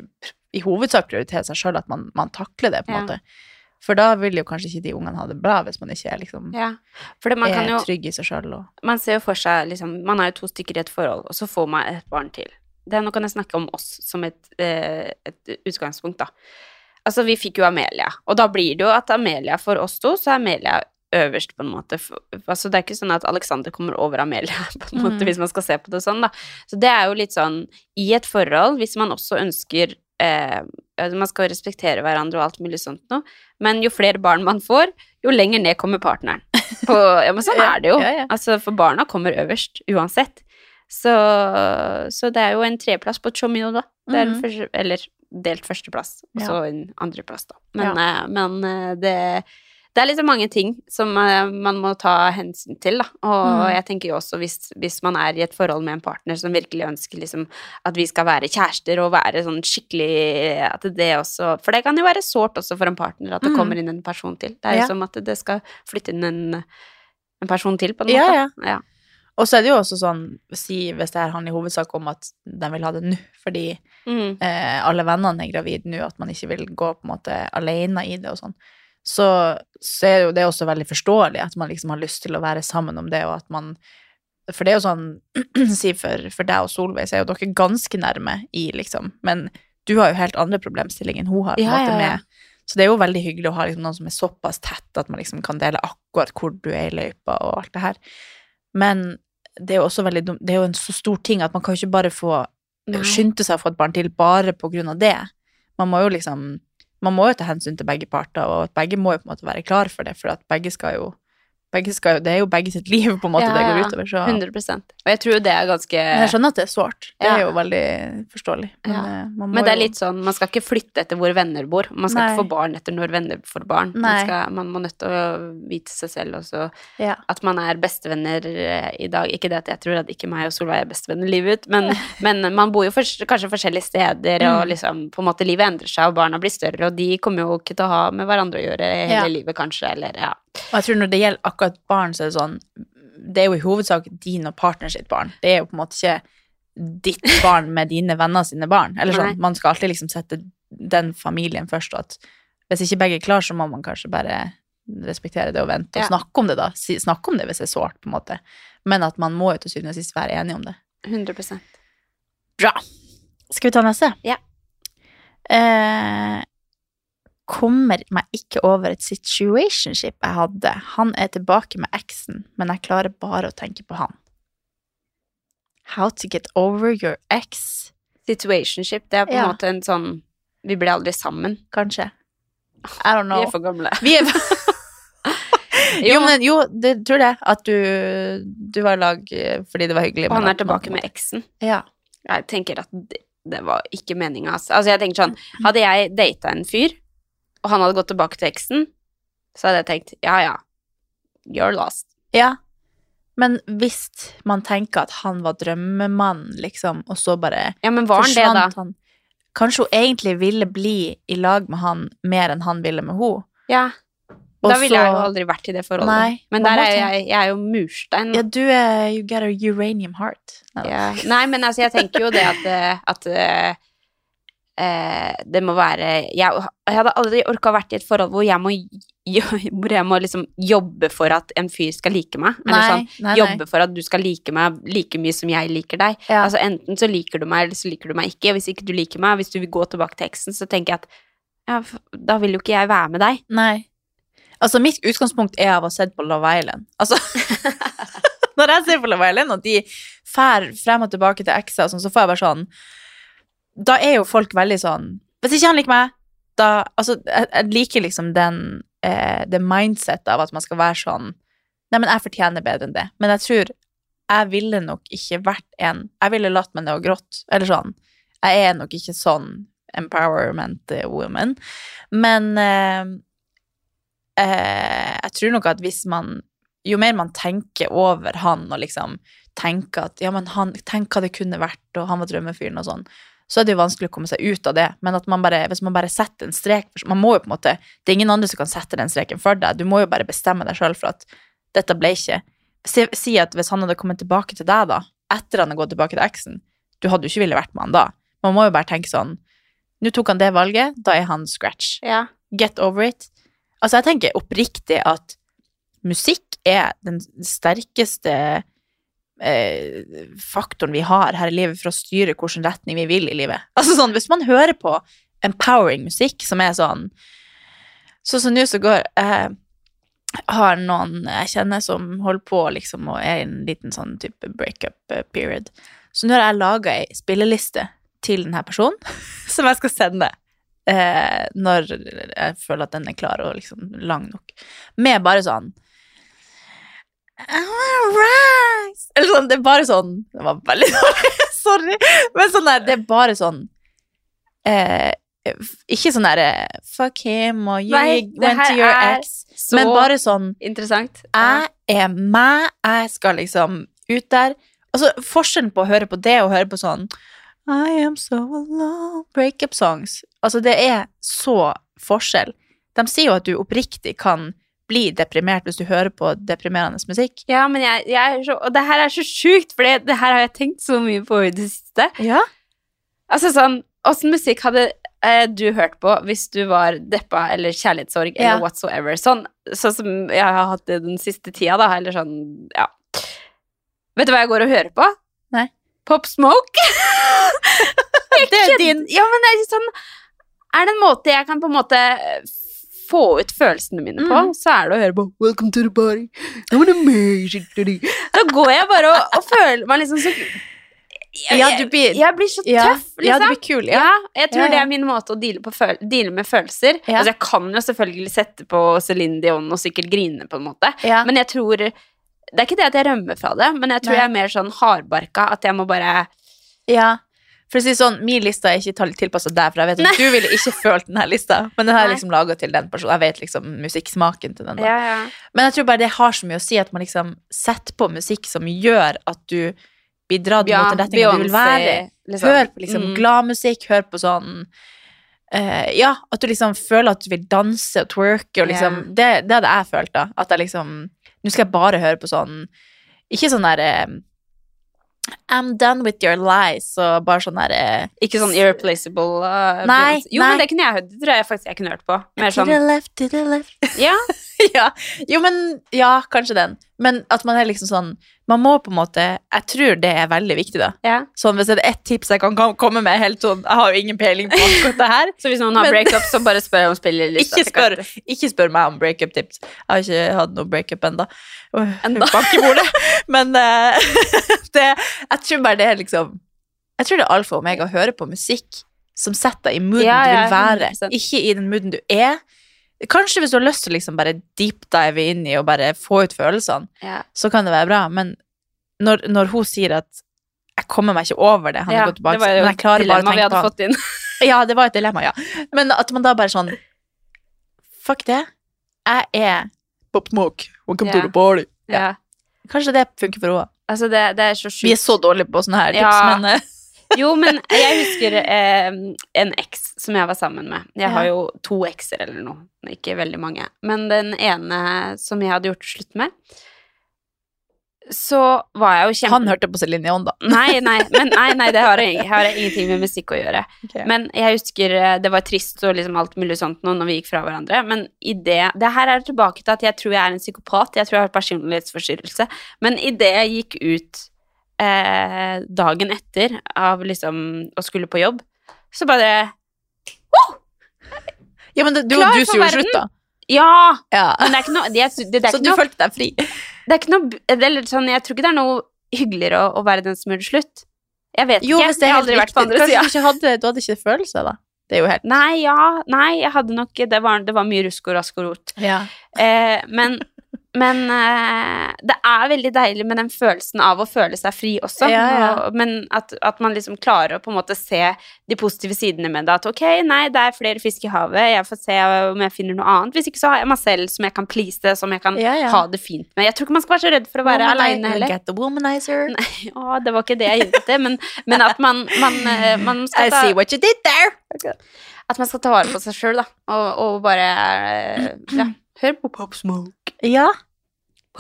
[SPEAKER 3] i hovedsak prioritere seg sjøl, at man, man takler det, på en
[SPEAKER 4] Ja.
[SPEAKER 3] måte. For da vil jo kanskje ikke de ungene ha det bra hvis man ikke er, liksom,
[SPEAKER 4] For det, man kan
[SPEAKER 3] er
[SPEAKER 4] jo
[SPEAKER 3] trygg i seg sjøl. Og...
[SPEAKER 4] man ser jo for seg liksom, Man er jo to stykker i et forhold, og så får man et barn til. Det, nå kan jeg snakke om oss som et, eh, et utgangspunkt, da. Altså, vi fikk jo Amelia, og da blir det jo at Amelia for oss to, så er Amelia øverst, på en måte. F- Altså, det er ikke sånn at Alexander kommer over Amelia, på en måte,
[SPEAKER 3] Mm.
[SPEAKER 4] hvis man skal se på det sånn, da. Så det er jo litt sånn I et forhold, hvis man også ønsker eh, Man skal jo respektere hverandre og alt mulig sånt noe, men jo flere barn man får, jo lenger ned kommer partneren. På, ja, men sånn
[SPEAKER 3] Ja,
[SPEAKER 4] er det jo.
[SPEAKER 3] ja, ja.
[SPEAKER 4] Altså, for barna kommer øverst uansett. Så, så det er jo en tredjeplass på Chomino, da. Det er den
[SPEAKER 3] Mhm.
[SPEAKER 4] første, eller delt førsteplass, og så en andreplass, da. Men, eh, men eh, det det er liksom mange ting som eh, man må ta hensyn til, da. Og
[SPEAKER 3] Mhm.
[SPEAKER 4] jeg tenker jo også hvis, hvis man er i et forhold med en partner som virkelig ønsker liksom at vi skal være kjærester og være sånn skikkelig at det også For det kan jo være sårt også for en partner at det
[SPEAKER 3] Mhm.
[SPEAKER 4] kommer inn en person til. Det er jo
[SPEAKER 3] Ja.
[SPEAKER 4] som at det skal flytte inn en, en person til, på en måte.
[SPEAKER 3] Ja, ja.
[SPEAKER 4] Ja.
[SPEAKER 3] og så er det jo også sånn, si, hvis det her handler i hovedsak om at de vil ha det nå, fordi
[SPEAKER 4] Mm.
[SPEAKER 3] eh, alle vennene er gravide nå, at man ikke vil gå på en måte alene i det og sånn, så, så er jo det også veldig forståelig at man liksom har lyst til å være sammen om det, og at man For det er jo sånn Si for, for deg og Solveig, så er jo dere ganske nærme i, liksom, men du har jo helt andre problemstillinger enn hun har. på en
[SPEAKER 4] Ja,
[SPEAKER 3] måte
[SPEAKER 4] ja, ja.
[SPEAKER 3] med Så det er jo veldig hyggelig å ha liksom, noen som er såpass tett at man liksom kan dele akkurat hvor du er i løypa og alt det her. Men det er jo også veldig dum- Det er jo en så stor ting at man kan jo ikke bare få
[SPEAKER 4] Nei.
[SPEAKER 3] skyndte seg å få et barn til bare på grunn av det. Man må jo liksom man må jo ta hensyn til begge parter, og at begge må jo på en måte være klar for det, for at begge skal jo, begge skal jo Det er jo begge sitt liv, på en måte,
[SPEAKER 4] Ja,
[SPEAKER 3] det
[SPEAKER 4] ja,
[SPEAKER 3] går
[SPEAKER 4] ja.
[SPEAKER 3] utover, så
[SPEAKER 4] 100 Og jeg tror jo det er ganske
[SPEAKER 3] Men jeg skjønner at det er sånn sårt. Det er
[SPEAKER 4] Ja.
[SPEAKER 3] jo veldig forståelig. Men,
[SPEAKER 4] Ja.
[SPEAKER 3] eh, man må
[SPEAKER 4] Men det er
[SPEAKER 3] jo-
[SPEAKER 4] litt sånn, man skal ikke flytte etter hvor venner bor. Man skal
[SPEAKER 3] Nei.
[SPEAKER 4] ikke få barn etter når venner får barn. Man,
[SPEAKER 3] Nei.
[SPEAKER 4] skal, man må nødt til å vite seg selv også
[SPEAKER 3] ja.
[SPEAKER 4] at man er bestevenner eh, i dag. Ikke det at jeg tror at ikke meg og Solveig er bestevenner livet ut, men, men man bor jo fors- kanskje forskjellige steder,
[SPEAKER 3] Mm.
[SPEAKER 4] og liksom på en måte livet endrer seg, og barna blir større, og de kommer jo ikke til å ha med hverandre å gjøre
[SPEAKER 3] Ja.
[SPEAKER 4] hele livet, kanskje, eller ja.
[SPEAKER 3] Og jeg tror når det gjelder akkurat barn, så er det sånn Det er jo i hovedsak din og partner sitt barn. Det er jo på en måte ikke ditt barn med dine venner sine barn. Eller sånn,
[SPEAKER 4] Nei.
[SPEAKER 3] Man skal alltid liksom sette den familien først, og at hvis ikke begge er klar, så må man kanskje bare respektere det og vente og
[SPEAKER 4] Ja.
[SPEAKER 3] snakke om det, da. Si, snakke om det hvis det er sårt, på en måte. Men at man må jo til syvende og sist være enige om det.
[SPEAKER 4] 100
[SPEAKER 3] Bra. Skal vi ta neste?
[SPEAKER 4] Ja.
[SPEAKER 3] Eh, kommer meg ikke over et situationship jeg hadde. Han er tilbake med eksen, men jeg klarer bare å tenke på han. How to get over your ex,
[SPEAKER 4] Situationship, det er på en
[SPEAKER 3] Ja.
[SPEAKER 4] måte en sånn Vi blir aldri sammen.
[SPEAKER 3] kanskje. I don't know.
[SPEAKER 4] Vi er for gamle.
[SPEAKER 3] Vi er jo, men jo, det tror jeg. At du, du var i lag eh, fordi det var hyggelig.
[SPEAKER 4] Og han
[SPEAKER 3] men
[SPEAKER 4] er
[SPEAKER 3] at man-
[SPEAKER 4] tilbake med eksen.
[SPEAKER 3] Ja.
[SPEAKER 4] Jeg tenker at det, det var ikke meninga. Altså. altså, jeg tenker sånn
[SPEAKER 3] Mm.
[SPEAKER 4] Hadde jeg data en fyr, og han hadde gått tilbake til eksen, så hadde jeg tenkt ja, ja, you're lost.
[SPEAKER 3] Ja. Men hvis man tenker at han var drømmemannen, liksom, og så bare
[SPEAKER 4] Ja, men var han det, da?
[SPEAKER 3] forsvant han Kanskje hun egentlig ville bli i lag med han mer enn han ville med henne.
[SPEAKER 4] Ja. Da ville jeg jo aldri vært i det forholdet.
[SPEAKER 3] Nei,
[SPEAKER 4] men
[SPEAKER 3] man
[SPEAKER 4] der
[SPEAKER 3] må
[SPEAKER 4] er jo
[SPEAKER 3] tenke-
[SPEAKER 4] jeg, jeg er jo murstein.
[SPEAKER 3] Ja, du er You got a uranium heart. Nei da.
[SPEAKER 4] Ja. Nei, men altså, jeg tenker jo det at, eh, at eh, eh, det må være jeg, jeg hadde aldri orka vært i et forhold hvor jeg må, jo- hvor jeg må liksom jobbe for at en fyr skal like meg. Eller
[SPEAKER 3] Nei,
[SPEAKER 4] sånn,
[SPEAKER 3] nei, nei.
[SPEAKER 4] jobbe for at du skal like meg like mye som jeg liker deg.
[SPEAKER 3] Ja.
[SPEAKER 4] Altså Enten så liker du meg, eller så liker du meg ikke. Hvis ikke du liker meg, hvis du vil gå tilbake til eksen, så tenker jeg at ja, f- da vil jo ikke jeg være med deg.
[SPEAKER 3] Nei. Altså, mitt utgangspunkt er av å ha sett på Love Island. Altså, når jeg ser på Love Island, og de fær frem og tilbake til ekser, og sånn, så får jeg bare sånn Da er jo folk veldig sånn Hvis ikke han liker meg, da Altså, jeg, jeg liker liksom den eh, det mindsettet av at man skal være sånn Nei, men jeg fortjener bedre enn det. Men jeg tror jeg ville nok ikke vært en Jeg ville latt meg ned og grått. Eller sånn. Jeg er nok ikke sånn empowerment eh, woman. Men eh, eh, jeg tror nok at hvis man Jo mer man tenker over han og liksom tenker at ja, men han, tenk hva det kunne vært, og han var drømmefyren og sånn, så er det jo vanskelig å komme seg ut av det. Men at man bare, hvis man bare setter en strek for- Man må jo på en måte Det er ingen andre som kan sette den streken for deg. Du må jo bare bestemme deg sjøl for at dette ble ikke si, si at hvis han hadde kommet tilbake til deg, da, etter han hadde gått tilbake til eksen, du hadde jo ikke villet vært med han da. Man må jo bare tenke sånn Nå tok han det valget, da er han scratch
[SPEAKER 4] Ja.
[SPEAKER 3] get over it. Altså, jeg tenker oppriktig at musikk er den sterkeste eh, faktoren vi har her i livet for å styre hvilken retning vi vil i livet. Altså sånn, hvis man hører på empowering musikk som er sånn Sånn som nå så går eh, har noen jeg kjenner som holder på liksom, og er i en liten sånn type breakup eh, period. Så nå har jeg laga ei spilleliste til denne personen som jeg skal sende eh, når jeg føler at den er klar og liksom lang nok. Med bare sånn I wanna rise. Eller sånn, det er bare sånn Det var veldig dårlig, sorry. Men sånn der, det er bare sånn eh, f- Ikke sånn derre Fuck him og you
[SPEAKER 4] Nei, det
[SPEAKER 3] went
[SPEAKER 4] her
[SPEAKER 3] to your
[SPEAKER 4] er
[SPEAKER 3] ex.
[SPEAKER 4] Så
[SPEAKER 3] Men bare sånn
[SPEAKER 4] interessant.
[SPEAKER 3] jeg er meg, jeg skal liksom ut der. Altså, forskjellen på å høre på det og høre på sånn I am so alone, breakup songs. Altså, det er så forskjell. De sier jo at du oppriktig kan bli deprimert hvis du hører på deprimerende musikk.
[SPEAKER 4] Ja, men jeg, jeg er så, Og det her er så sjukt, for det, det her har jeg tenkt så mye på i det siste.
[SPEAKER 3] Ja.
[SPEAKER 4] Altså sånn, Åssen musikk hadde eh, du hørt på hvis du var deppa eller kjærlighetssorg
[SPEAKER 3] Ja.
[SPEAKER 4] eller whatsoever? Sånn, sånn som jeg har hatt det den siste tida, da. Eller sånn, ja. Vet du hva jeg går og hører på?
[SPEAKER 3] Nei.
[SPEAKER 4] Pop Smoke.
[SPEAKER 3] Det er din.
[SPEAKER 4] Ja, men det er litt sånn Er det en måte jeg kan på en måte eh, få ut følelsene mine på,
[SPEAKER 3] Mhm.
[SPEAKER 4] så er det å høre på Welcome to the party. I'm an amazing Da går jeg bare og, og føler meg liksom så
[SPEAKER 3] Ja, du blir-
[SPEAKER 4] jeg blir så
[SPEAKER 3] Ja.
[SPEAKER 4] tøff, liksom.
[SPEAKER 3] Ja, du blir kul, ja.
[SPEAKER 4] jeg tror
[SPEAKER 3] Ja, ja.
[SPEAKER 4] det er min måte å deale, på føl deale med følelser.
[SPEAKER 3] Ja.
[SPEAKER 4] Altså, jeg kan jo selvfølgelig sette på Celine Dion og sikkert grine, på en måte.
[SPEAKER 3] Ja.
[SPEAKER 4] Men jeg tror Det er ikke det at jeg rømmer fra det, men jeg tror
[SPEAKER 3] Nei.
[SPEAKER 4] jeg er mer sånn hardbarka. At jeg må bare
[SPEAKER 3] Ja. For å si det sånn, Min liste er ikke tilpassa deg, for jeg vet at du ville ikke følt denne lista. Men den har jeg
[SPEAKER 4] Nei.
[SPEAKER 3] liksom laga til den personen. Jeg vet liksom musikksmaken til den. Da. Men jeg tror bare det har så mye å si at man liksom setter på musikk som gjør at du blir dratt
[SPEAKER 4] Ja,
[SPEAKER 3] mot den retningen du vil være. i.
[SPEAKER 4] Beyoncé, liksom.
[SPEAKER 3] Hør på liksom
[SPEAKER 4] Mm.
[SPEAKER 3] gladmusikk, hør på sånn eh, Ja, at du liksom føler at du vil danse og twerke og liksom
[SPEAKER 4] Ja.
[SPEAKER 3] det, det hadde jeg følt, da. At jeg liksom Nå skal jeg bare høre på sånn Ikke sånn der eh, I'm done with your lies og bare sånn der eh,
[SPEAKER 4] Ikke sånn irreplaceable. uh,
[SPEAKER 3] Nei,
[SPEAKER 4] Beyoncé. Jo,
[SPEAKER 3] nei.
[SPEAKER 4] men det kunne jeg hørt. Det tror jeg faktisk jeg kunne hørt på. Mer
[SPEAKER 3] To
[SPEAKER 4] sånn
[SPEAKER 3] the left, to the left.
[SPEAKER 4] Ja.
[SPEAKER 3] ja. Jo, men Ja, kanskje den. Men at man er liksom sånn Man må på en måte Jeg tror det er veldig viktig, da.
[SPEAKER 4] ja.
[SPEAKER 3] Sånn Hvis det er ett tips jeg kan kom- komme med helt sånn Jeg har jo ingen peiling på akkurat det her.
[SPEAKER 4] Så hvis noen har
[SPEAKER 3] Men-
[SPEAKER 4] breakup, så bare spør om spillerlista.
[SPEAKER 3] Ikke spør, ikke spør meg om breakup-tips. Jeg har ikke hatt noe breakup ennå.
[SPEAKER 4] Enda.
[SPEAKER 3] Men eh, det, jeg tror bare det er liksom Jeg tror det er alfa og omega å høre på musikk som setter deg i mooden
[SPEAKER 4] Ja,
[SPEAKER 3] du
[SPEAKER 4] ja,
[SPEAKER 3] vil være,
[SPEAKER 4] 100%.
[SPEAKER 3] ikke i den mooden du er. Kanskje hvis du har lyst til å liksom bare deep-dive inn i og bare få ut følelsene,
[SPEAKER 4] Ja.
[SPEAKER 3] så kan det være bra, men når, når hun sier at 'jeg kommer meg ikke over det', han
[SPEAKER 4] Ja,
[SPEAKER 3] har gått tilbake,
[SPEAKER 4] det var jo
[SPEAKER 3] men jeg klarer bare å
[SPEAKER 4] dilemma vi
[SPEAKER 3] tenke på
[SPEAKER 4] hadde
[SPEAKER 3] han.
[SPEAKER 4] fått inn.
[SPEAKER 3] Ja, det var et dilemma, ja. Men at man da bare sånn Fuck det. Jeg er Pop Smoke. Welcome
[SPEAKER 4] Ja.
[SPEAKER 3] to the party. Ja.
[SPEAKER 4] Ja.
[SPEAKER 3] Kanskje det funker for henne.
[SPEAKER 4] Altså, det, det er så
[SPEAKER 3] Vi er
[SPEAKER 4] sjukt.
[SPEAKER 3] så dårlige på sånne her tips,
[SPEAKER 4] Ja.
[SPEAKER 3] men eh,
[SPEAKER 4] Jo, men jeg husker eh, en eks som jeg var sammen med. Jeg har
[SPEAKER 3] Ja.
[SPEAKER 4] jo to ekser eller noe. Ikke veldig mange. Men den ene som jeg hadde gjort slutt med, så var jeg jo kjempe...
[SPEAKER 3] han hørte på Celine Dion, da.
[SPEAKER 4] Nei, nei, men, nei, nei det har, jeg, har jeg ingenting med musikk å gjøre. Men jeg husker eh, det var trist og liksom alt mulig sånt nå når vi gikk fra hverandre. Men i det, det her er tilbake til at jeg tror jeg er en psykopat. Jeg tror jeg har personlighetsforstyrrelse. Men idet jeg gikk ut eh, dagen etter av liksom å skulle på jobb, så bare
[SPEAKER 3] Ja, men det, du,
[SPEAKER 4] Klar
[SPEAKER 3] du
[SPEAKER 4] for
[SPEAKER 3] sier jo
[SPEAKER 4] verden.
[SPEAKER 3] slutt, da.
[SPEAKER 4] Ja!
[SPEAKER 3] Ja.
[SPEAKER 4] Men det er ikke noe det, er- det, det er
[SPEAKER 3] Så
[SPEAKER 4] ikke
[SPEAKER 3] du
[SPEAKER 4] noe-
[SPEAKER 3] følte deg fri.
[SPEAKER 4] det er ikke noe det er litt sånn, Jeg tror ikke det er noe hyggeligere å, å være den som gjør det slutt. Jeg vet
[SPEAKER 3] Jo,
[SPEAKER 4] ikke.
[SPEAKER 3] hvis det er
[SPEAKER 4] jeg har
[SPEAKER 3] helt
[SPEAKER 4] aldri vært på
[SPEAKER 3] riktig.
[SPEAKER 4] andre
[SPEAKER 3] Kanskje
[SPEAKER 4] sida.
[SPEAKER 3] du ikke hadde, du hadde ikke følelser, da. Det er jo helt
[SPEAKER 4] Nei, ja. Nei, jeg hadde nok Det var, det var mye rusk og rask og rot.
[SPEAKER 3] ja.
[SPEAKER 4] Eh, men men eh, det er veldig deilig med den følelsen av å føle seg fri også.
[SPEAKER 3] Ja, ja.
[SPEAKER 4] Og, men at, at man liksom klarer å på en måte se de positive sidene med det. At ok, nei, det er flere fisk i havet, jeg får se om jeg finner noe annet. Hvis ikke så har jeg meg selv som jeg kan please, som jeg kan
[SPEAKER 3] Ja, ja.
[SPEAKER 4] ha det fint med. Jeg tror ikke man skal være så redd for å være aleine heller.
[SPEAKER 3] Get the womanizer.
[SPEAKER 4] Å, det var ikke det jeg hintet til, men, men at man, man, eh, man
[SPEAKER 3] I
[SPEAKER 4] skal ta
[SPEAKER 3] see what you did there.
[SPEAKER 4] at man skal ta vare på seg sjøl, da. Og, og bare eh, ja. Hør på Pop Smoke.
[SPEAKER 3] Ja.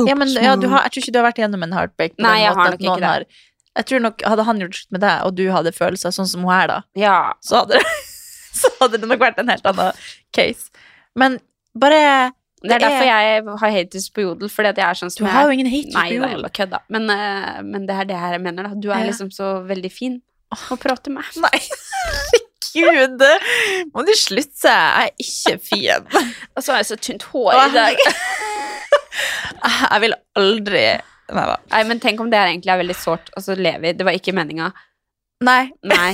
[SPEAKER 3] ja, men, ja du har, jeg tror ikke du har vært igjennom en heartbreak. på
[SPEAKER 4] Nei,
[SPEAKER 3] den
[SPEAKER 4] jeg
[SPEAKER 3] måten
[SPEAKER 4] har
[SPEAKER 3] at
[SPEAKER 4] nok ikke
[SPEAKER 3] noen
[SPEAKER 4] det.
[SPEAKER 3] har- Jeg tror nok, Hadde han gjort slutt med deg, og du hadde følelser sånn som hun er, da,
[SPEAKER 4] Ja.
[SPEAKER 3] så hadde det, så hadde det nok vært en helt annen case. Men bare
[SPEAKER 4] Det er
[SPEAKER 3] Det er-
[SPEAKER 4] derfor jeg har haters på jodel, fordi at jeg er sånn
[SPEAKER 3] Du
[SPEAKER 4] som
[SPEAKER 3] har jo
[SPEAKER 4] jeg
[SPEAKER 3] ingen haters
[SPEAKER 4] Nei
[SPEAKER 3] på
[SPEAKER 4] da, jeg
[SPEAKER 3] jorden.
[SPEAKER 4] bare kødda. Men, eh, men det er det her jeg mener, da. Du er
[SPEAKER 3] Ja.
[SPEAKER 4] liksom så veldig fin å prate med.
[SPEAKER 3] Nei, herregud! Må du slutte seg? Jeg er ikke fin.
[SPEAKER 4] Og så har jeg så tynt hår i
[SPEAKER 3] Åh.
[SPEAKER 4] dag.
[SPEAKER 3] Jeg vil aldri Nei da.
[SPEAKER 4] Nei, men tenk om det her egentlig er veldig sårt, og så ler vi. Det var ikke meninga.
[SPEAKER 3] Nei.
[SPEAKER 4] Nei.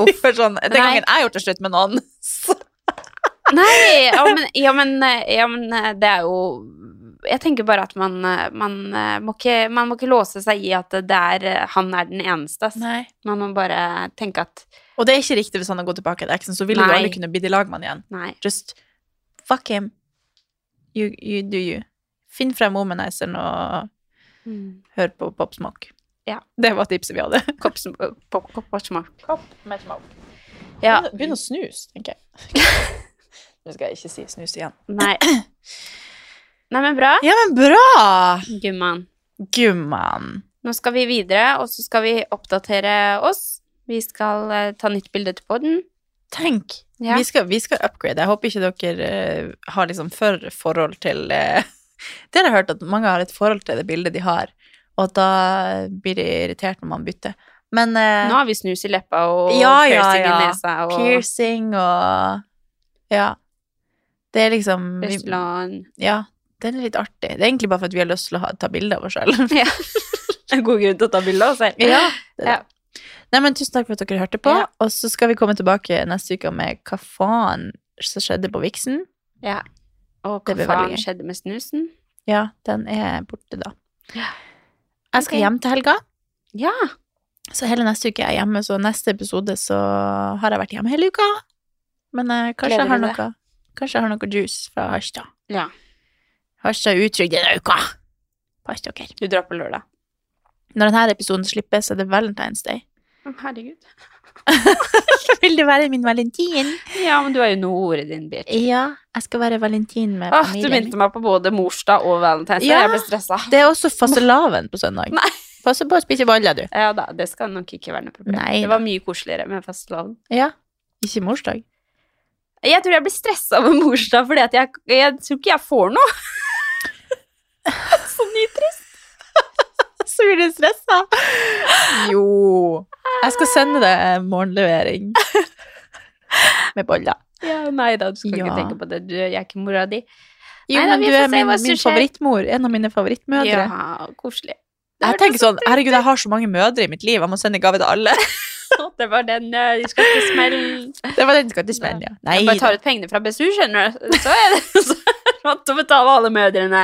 [SPEAKER 3] Uff, sånn, den
[SPEAKER 4] Nei.
[SPEAKER 3] gangen jeg har gjort det slutt med noen, så
[SPEAKER 4] Nei, ja men, ja, men, eh, ja, men eh, det er jo Jeg tenker bare at man, eh, man, eh, må, ikke, man må ikke låse seg i at det er, eh, han er den eneste. ass.
[SPEAKER 3] Nei.
[SPEAKER 4] Man må bare tenke at
[SPEAKER 3] Og det er ikke riktig hvis han har gått tilbake til eksen, så ville du
[SPEAKER 4] Nei.
[SPEAKER 3] aldri kunne blitt i lag med han igjen.
[SPEAKER 4] nei.
[SPEAKER 3] Just fuck him. You, you do you. Finn frem womanizeren og
[SPEAKER 4] Mm.
[SPEAKER 3] hør på Pop Smoke.
[SPEAKER 4] Ja.
[SPEAKER 3] Det var tipset vi hadde.
[SPEAKER 4] Kopp som- eh, pop- kopp og smak.
[SPEAKER 3] Ja.
[SPEAKER 4] Ja.
[SPEAKER 3] Begynn å snuse, tenker jeg. Nå skal jeg ikke si snus igjen.
[SPEAKER 4] Nei. Nei, men bra.
[SPEAKER 3] Ja, men bra!
[SPEAKER 4] Gumman.
[SPEAKER 3] Gumman.
[SPEAKER 4] Nå skal vi videre, og så skal vi oppdatere oss. Vi skal eh, ta nytt bilde til podden.
[SPEAKER 3] Tenk.
[SPEAKER 4] Ja.
[SPEAKER 3] Vi, skal, vi skal upgrade. Jeg håper ikke dere eh, har liksom for forhold til eh, Dere har hørt at mange har et forhold til det bildet de har, og at da blir de irritert når man bytter. Men eh,
[SPEAKER 4] Nå har vi snus i leppa og
[SPEAKER 3] Ja, ja,
[SPEAKER 4] piercing i
[SPEAKER 3] ja.
[SPEAKER 4] nesa og
[SPEAKER 3] piercing og Ja. Det er liksom vi,
[SPEAKER 4] Østland.
[SPEAKER 3] Ja, den er litt artig. Det er egentlig bare for at vi har lyst til å ha, ta bilde av oss sjøl.
[SPEAKER 4] En god grunn til å ta bilde av oss selv.
[SPEAKER 3] ja, det er det.
[SPEAKER 4] Ja.
[SPEAKER 3] Nei, men Tusen takk for at dere hørte på.
[SPEAKER 4] Ja.
[SPEAKER 3] Og så skal vi komme tilbake neste uke med hva faen som skjedde på Vixen.
[SPEAKER 4] Ja. Og
[SPEAKER 3] Det
[SPEAKER 4] hva
[SPEAKER 3] blir veldig
[SPEAKER 4] faen
[SPEAKER 3] gøy.
[SPEAKER 4] skjedde med snusen?
[SPEAKER 3] Ja, den er borte, da.
[SPEAKER 4] Ja.
[SPEAKER 3] Jeg skal
[SPEAKER 4] Ok.
[SPEAKER 3] hjem til helga,
[SPEAKER 4] Ja.
[SPEAKER 3] så hele neste uke er jeg hjemme. Så neste episode så har jeg vært hjemme hele uka. Men eh, kanskje,
[SPEAKER 4] Gleder
[SPEAKER 3] jeg har
[SPEAKER 4] du deg?
[SPEAKER 3] noe, kanskje jeg har noe juice fra Harstad.
[SPEAKER 4] Ja.
[SPEAKER 3] Harstad er utrygg denne uka! Pass dere.
[SPEAKER 4] Du drar på lørdag.
[SPEAKER 3] Når denne episoden slippes, er det Valentine's Day.
[SPEAKER 4] Å, Herregud.
[SPEAKER 3] Vil du være min valentin?
[SPEAKER 4] Ja, men du er jo nå ordet din, bitch.
[SPEAKER 3] Ja, jeg skal være valentin med
[SPEAKER 4] Åh, du
[SPEAKER 3] familien.
[SPEAKER 4] minte meg på både morsdag og valentines.
[SPEAKER 3] Ja.
[SPEAKER 4] Jeg ble stressa.
[SPEAKER 3] Det er også fastelavn på søndag.
[SPEAKER 4] Nei.
[SPEAKER 3] Pass på å spise boller, du.
[SPEAKER 4] Ja da, det skal nok ikke være noe problem.
[SPEAKER 3] Nei
[SPEAKER 4] det
[SPEAKER 3] da.
[SPEAKER 4] var mye koseligere med fastelavn.
[SPEAKER 3] Ja. Ikke morsdag.
[SPEAKER 4] Jeg tror jeg blir stressa over morsdag fordi at jeg, jeg tror ikke jeg får noe. så nitrist.
[SPEAKER 3] Så blir du stressa. Jo. Jeg skal sende deg morgenlevering. Med boller.
[SPEAKER 4] Ja, nei da, du skal
[SPEAKER 3] Ja.
[SPEAKER 4] ikke tenke på det. Du, jeg er ikke mora di.
[SPEAKER 3] Jo,
[SPEAKER 4] Nei da,
[SPEAKER 3] men du
[SPEAKER 4] vi får
[SPEAKER 3] er
[SPEAKER 4] se
[SPEAKER 3] min,
[SPEAKER 4] hva som
[SPEAKER 3] min
[SPEAKER 4] skjer.
[SPEAKER 3] favorittmor. En av mine favorittmødre.
[SPEAKER 4] Ja, koselig.
[SPEAKER 3] Jeg tenker sånn, herregud, jeg har så mange mødre i mitt liv, jeg må sende gave til alle.
[SPEAKER 4] Det var den eh, Du skal ikke smelle
[SPEAKER 3] Det var den skal til Sven, ja. Nei,
[SPEAKER 4] Jeg bare tar ut pengene fra BSU, skjønner du. Så er det så er det rått å betale alle mødrene.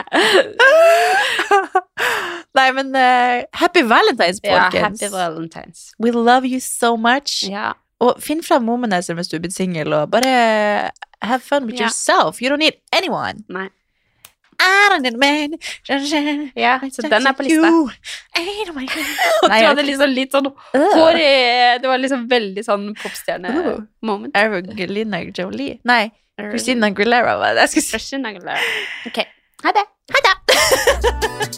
[SPEAKER 3] Nei men eh, happy valentines,
[SPEAKER 4] Ja,
[SPEAKER 3] folkens.
[SPEAKER 4] happy valentines.
[SPEAKER 3] We love you so much.
[SPEAKER 4] Ja.
[SPEAKER 3] Og finn fram womanizer hvis du er blitt singel, og bare have fun with
[SPEAKER 4] Ja.
[SPEAKER 3] yourself. You don't need anyone.
[SPEAKER 4] Nei.
[SPEAKER 3] I don't need men.
[SPEAKER 4] ja, så den er på lista.
[SPEAKER 3] You. I don't want you.
[SPEAKER 4] Og
[SPEAKER 3] Nei,
[SPEAKER 4] du
[SPEAKER 3] jeg-
[SPEAKER 4] hadde liksom litt sånn
[SPEAKER 3] Øh.
[SPEAKER 4] hår i Det var liksom veldig sånn
[SPEAKER 3] Ooh.
[SPEAKER 4] popstjerne-moment.
[SPEAKER 3] Evangelina Jolie. Nei, Christina Aguilera. Hva er det jeg skulle si?
[SPEAKER 4] Freshen Aguilera. Ok. Ha det. Ha det.